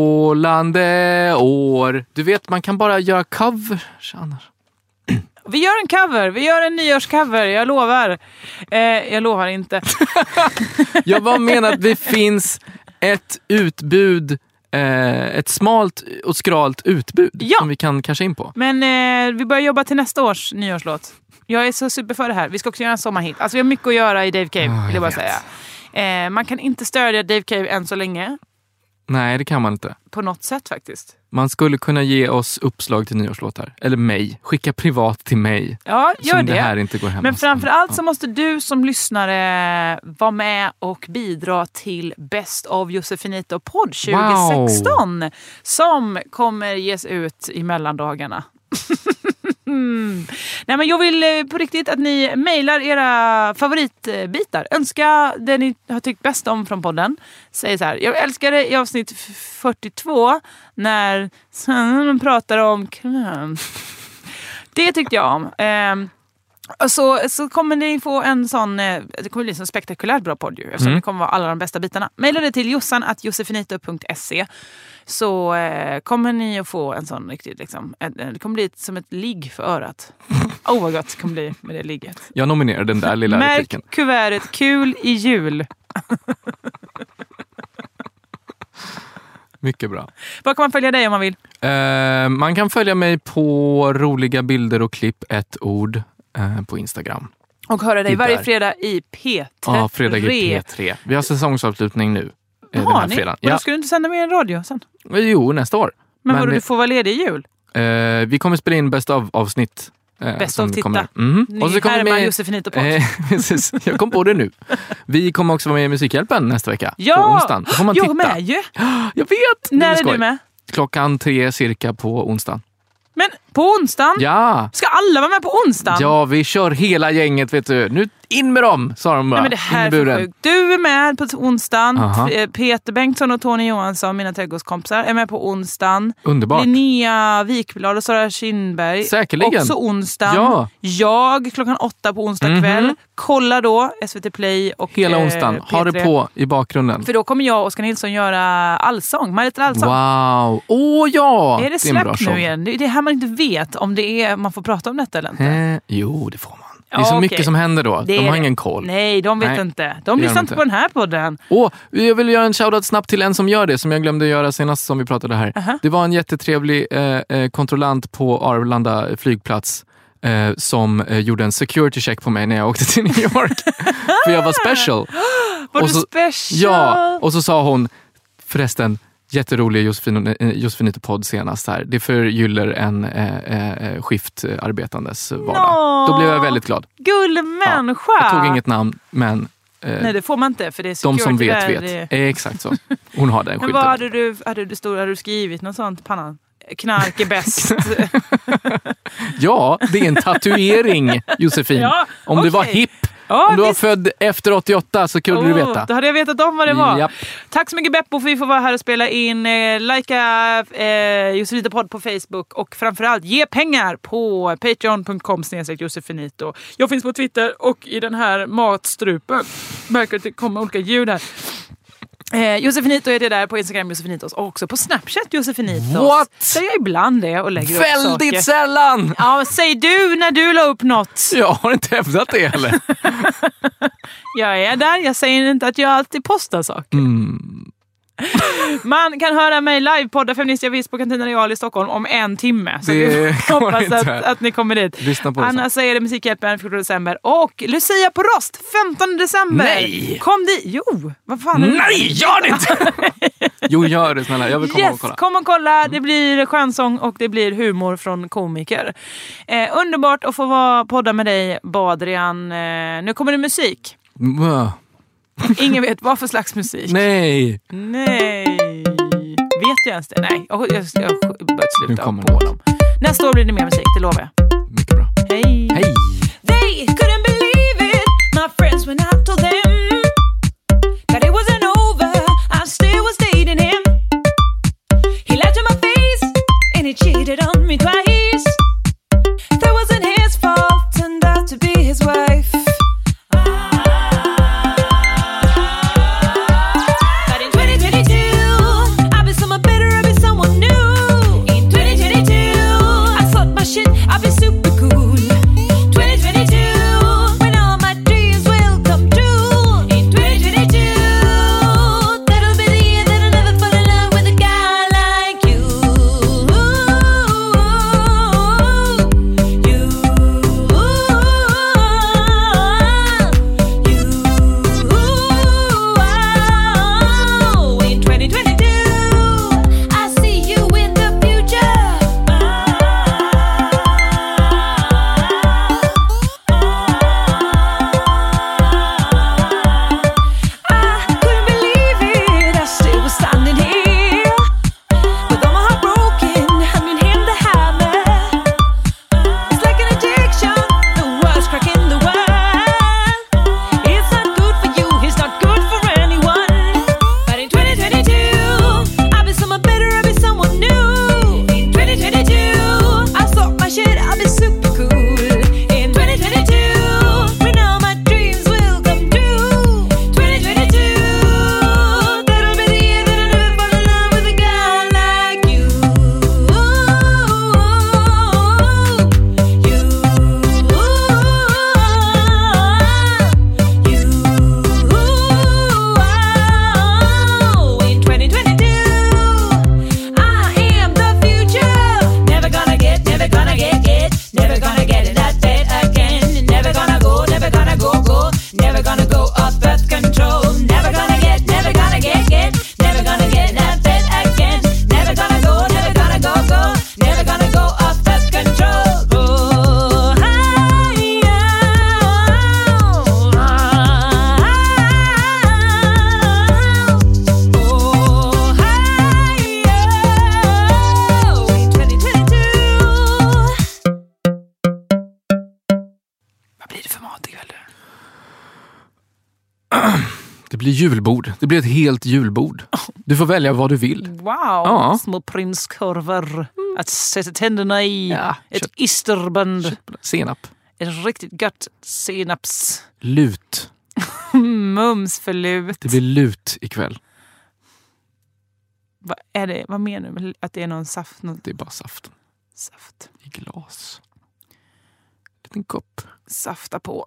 strålande år. Du vet, man kan bara göra covers annars.
Vi gör en cover. Vi gör en nyårscover. Jag lovar. Eh, jag lovar inte.
Jag bara menar att det finns ett utbud, eh, ett smalt och skralt utbud
Ja.
som vi kan casha in på.
Men eh, vi börjar jobba till nästa års nyårslåt. Jag är så super för det här. Vi ska också göra en sommarhit. Alltså vi har mycket att göra i Dave Cave,
Ja, Ah, jag
vill jag bara
vet.
säga. Eh, man kan inte stödja Dave Cave än så länge.
Nej, det kan man inte.
På något sätt faktiskt.
Man skulle kunna ge oss uppslag till nyårslåtar. Eller mig. Skicka privat till mig.
Ja, gör
som
det.
det här inte går hem
Men
hos.
framförallt så måste du som lyssnare vara med och bidra till Best of Josefinito podd 2016 som kommer ges ut i mellandagarna. Mm. Nej, men jag vill eh, på riktigt att ni mejlar era favoritbitar. Önska det ni har tyckt bäst om från podden. Säg så här, jag älskar det i avsnitt f- 42 när de pratar om kräm. Det tyckte jag om. Ehm, och så, Alltså, så kommer ni få en sån, eh, det kommer bli en sån spektakulärt bra podd ju, eftersom
Mm.
det kommer vara alla de bästa bitarna. Maila det till jossan at josefinito.se så eh, kommer ni att få en sån riktigt, liksom, en- en- det kommer bli ett- som ett ligg för örat. Åh vad gott det kommer bli med det ligget.
Jag nominerar den där lilla
Märk
repliken.
kuvertet kul i jul.
Mycket bra.
Var kan man följa dig om man vill?
Eh, man kan följa mig på roliga bilder och klipp, ett ord, eh, på Instagram.
Och höra dig
Det
varje
där.
fredag i P3.
Ja, fredag i P3. Vi har säsongsavslutning nu. eh, den
Har
här
ni?
fredagen.
Och då
Ja.
ska du inte sända mer än radio sen?
Jo, nästa år.
Men,
Men
vadå,
det-
du får vara ledig i jul?
Eh, vi kommer spela in bäst av avsnitt. eh,
Best
som
of, titta.
kommer. Mhm.
Ni härmar Josefinito på.
Eh, precis. Jag kom på det nu. Vi kommer också vara med i Musikhjälpen nästa vecka. På
Ja!
onsdagen. Då får man
jag
titta.
med ju!
Jag vet! Det
När
blir
är
skoj.
du med?
Klockan tre cirka på onsdagen.
Men på onsdagen?
Ja!
Ska alla vara med på onsdagen?
Ja, vi kör hela gänget vet du. Nu in med dem, sa de bara.
Nej, men det här är
in i buren.
för sjukt. Du är med på onsdagen.
Aha.
F- eh, Peter Bengtsson och Tony Johansson, mina trädgårdskompisar, är med på onsdagen.
Underbart.
Linnea Wikblad och Sara Kindberg.
Säkerligen.
Också onsdagen.
Ja. Mhm.
Jag klockan åtta på onsdag kväll. Kolla då SVT Play och
Hela
eh,
onsdagen. Ha det
P3.
på i bakgrunden.
För då kommer jag och Oskar Nilsson göra allsång. Marita Allsång.
Wow! Åh ja!
Är det
är en bra
släppt
show.
nu igen? Det är det här man inte vet om det är, man får prata om detta eller inte.
Eh, jo, det får man. Det är så
Ja,
mycket
okej.
som händer då.
Det
De
är
har
det.
ingen koll.
Nej, de vet
Nej,
inte. De
det gör de
lyssnar
inte.
inte på den här podden.
Åh, jag vill göra en shoutout snabbt till en som gör det, som jag glömde göra senast som vi pratade här. Det var en jättetrevlig eh, eh, kontrollant på Arlanda flygplats eh, som eh, gjorde en security check på mig när jag åkte till New York. För jag var special.
Var
Och
du
så-
special?
Ja, och så sa hon förresten, jätterolig Josefin, eh, Josefinito podd senast här. Det förgyller en eh, eh, skiftarbetandes vardag.
Nå.
Då blev jag väldigt glad.
Gullmänniska!
Jag tog inget namn, men eh,
Nej, det får man inte för det är
de som
security
vet
där.
vet. Eh, exakt så. Hon har den
Men vad
skylten.
hade du, hade, du stor, hade du skrivit något sånt på pannan? Knark är bäst.
Ja, det är en tatuering Josefin.
Ja,
om du var
okej.
hipp,
Ja,
om du var
visst.
född efter 88 så kunde du
Oh,
veta.
Då hade jag vetat om vad det var.
Japp.
Tack så mycket Beppo för vi får vara här och spela in. Eh, Lajka eh, Josefinito podd på Facebook och framförallt ge pengar på patreon.com snedstreck Josefinito. Jag finns på Twitter och i den här matstrupen. Märker att det kommer olika ljud här. Eh, Josefinito är det där på Instagram Josefinitos och också på Snapchat Josefinitos.
What?
Där jag ibland är och lägger upp saker.
Väldigt sällan!
Ja, vad säg du när du la upp något.
Jag har inte hävdat det heller.
Jag är där, jag säger inte att jag alltid postar saker.
Mm.
Man kan höra mig live podda Feministia Vis på Cantina Real i Stockholm om en timme. Så
Det
vi
går
hoppas
inte.
att, att ni kommer dit.
Lyssna på det sen.
Annars så är det Musikhjälpen 14 december och Lucia på Rost 15 december.
Nej!
Kom dit! Jo, vad fan är det?
Nej, gör det inte! Jo, gör det snälla. Jag vill komma
yes,
och kolla.
kom och kolla. Det blir skönsång och det blir humor från komiker. Eh, underbart att få vara, podda med dig, Badrian. Eh, nu kommer det musik.
Mwah.
Ingen vet vad för slags musik.
Nej!
Nej. Vet jag ens det? Nej, jag har jag, jag, har börjat
Nu
sluta
kommer
på
det.
dem. Nästa år blir det mer musik, det lovar jag.
Mycket bra.
Hej!
Hej!
They couldn't believe it, my friends, when I told them that it wasn't over. I still was dating him. He lied to my face and he cheated on me twice. That wasn't his fault, turned out to be his wife. But in 2022, I've been someone better, I've been someone new. In 2022, I thought my shit, I've been super cool. 2022, when all my dreams will come true. In 2022, that'll be the year that I never fall in love with a guy like you. You. You. Oh, In 2022, I see you in the Ah, ah, future. I couldn't believe it. I still was standing here with all my heart broken, handing him the hammer. It's like an addiction. The worst crack in the world. It's not good for you. It's not good for anyone. But in 2022, I've been someone better. I've been someone new. In 2022, I thought my shit. I've been super cool. In 2022, when all my dreams will come true. 2022, that'll be the year that I never fall in love with a guy like you. You. You. Oh, In 2022, I am the future. Never gonna get, never gonna get it. Never gonna get it that bad again. Never gonna go, never gonna go, go. Never gonna go off birth control. Never gonna get, never gonna get, get. Never gonna get that bad again. Never gonna go, never gonna go, go. Never gonna go off birth control. Oh, hi, oh, Oh, hi, oh, in 2022. Vad blir det för mat ikväll?
Det blir julbord. Det blir ett helt julbord. Du får välja vad du vill.
Wow,
Ja. Mm.
små prinskorvar att sätta tänderna i.
Ja,
ett
kött.
isterband.
Senap.
Ett riktigt gött senaps.
Lut.
Mums för lut.
Mm. Det blir lut ikväll.
Vad, är det, vad menar du med att det är någon saft? Någon
Det är bara saft
saft?
i glas. liten kopp.
Safta på.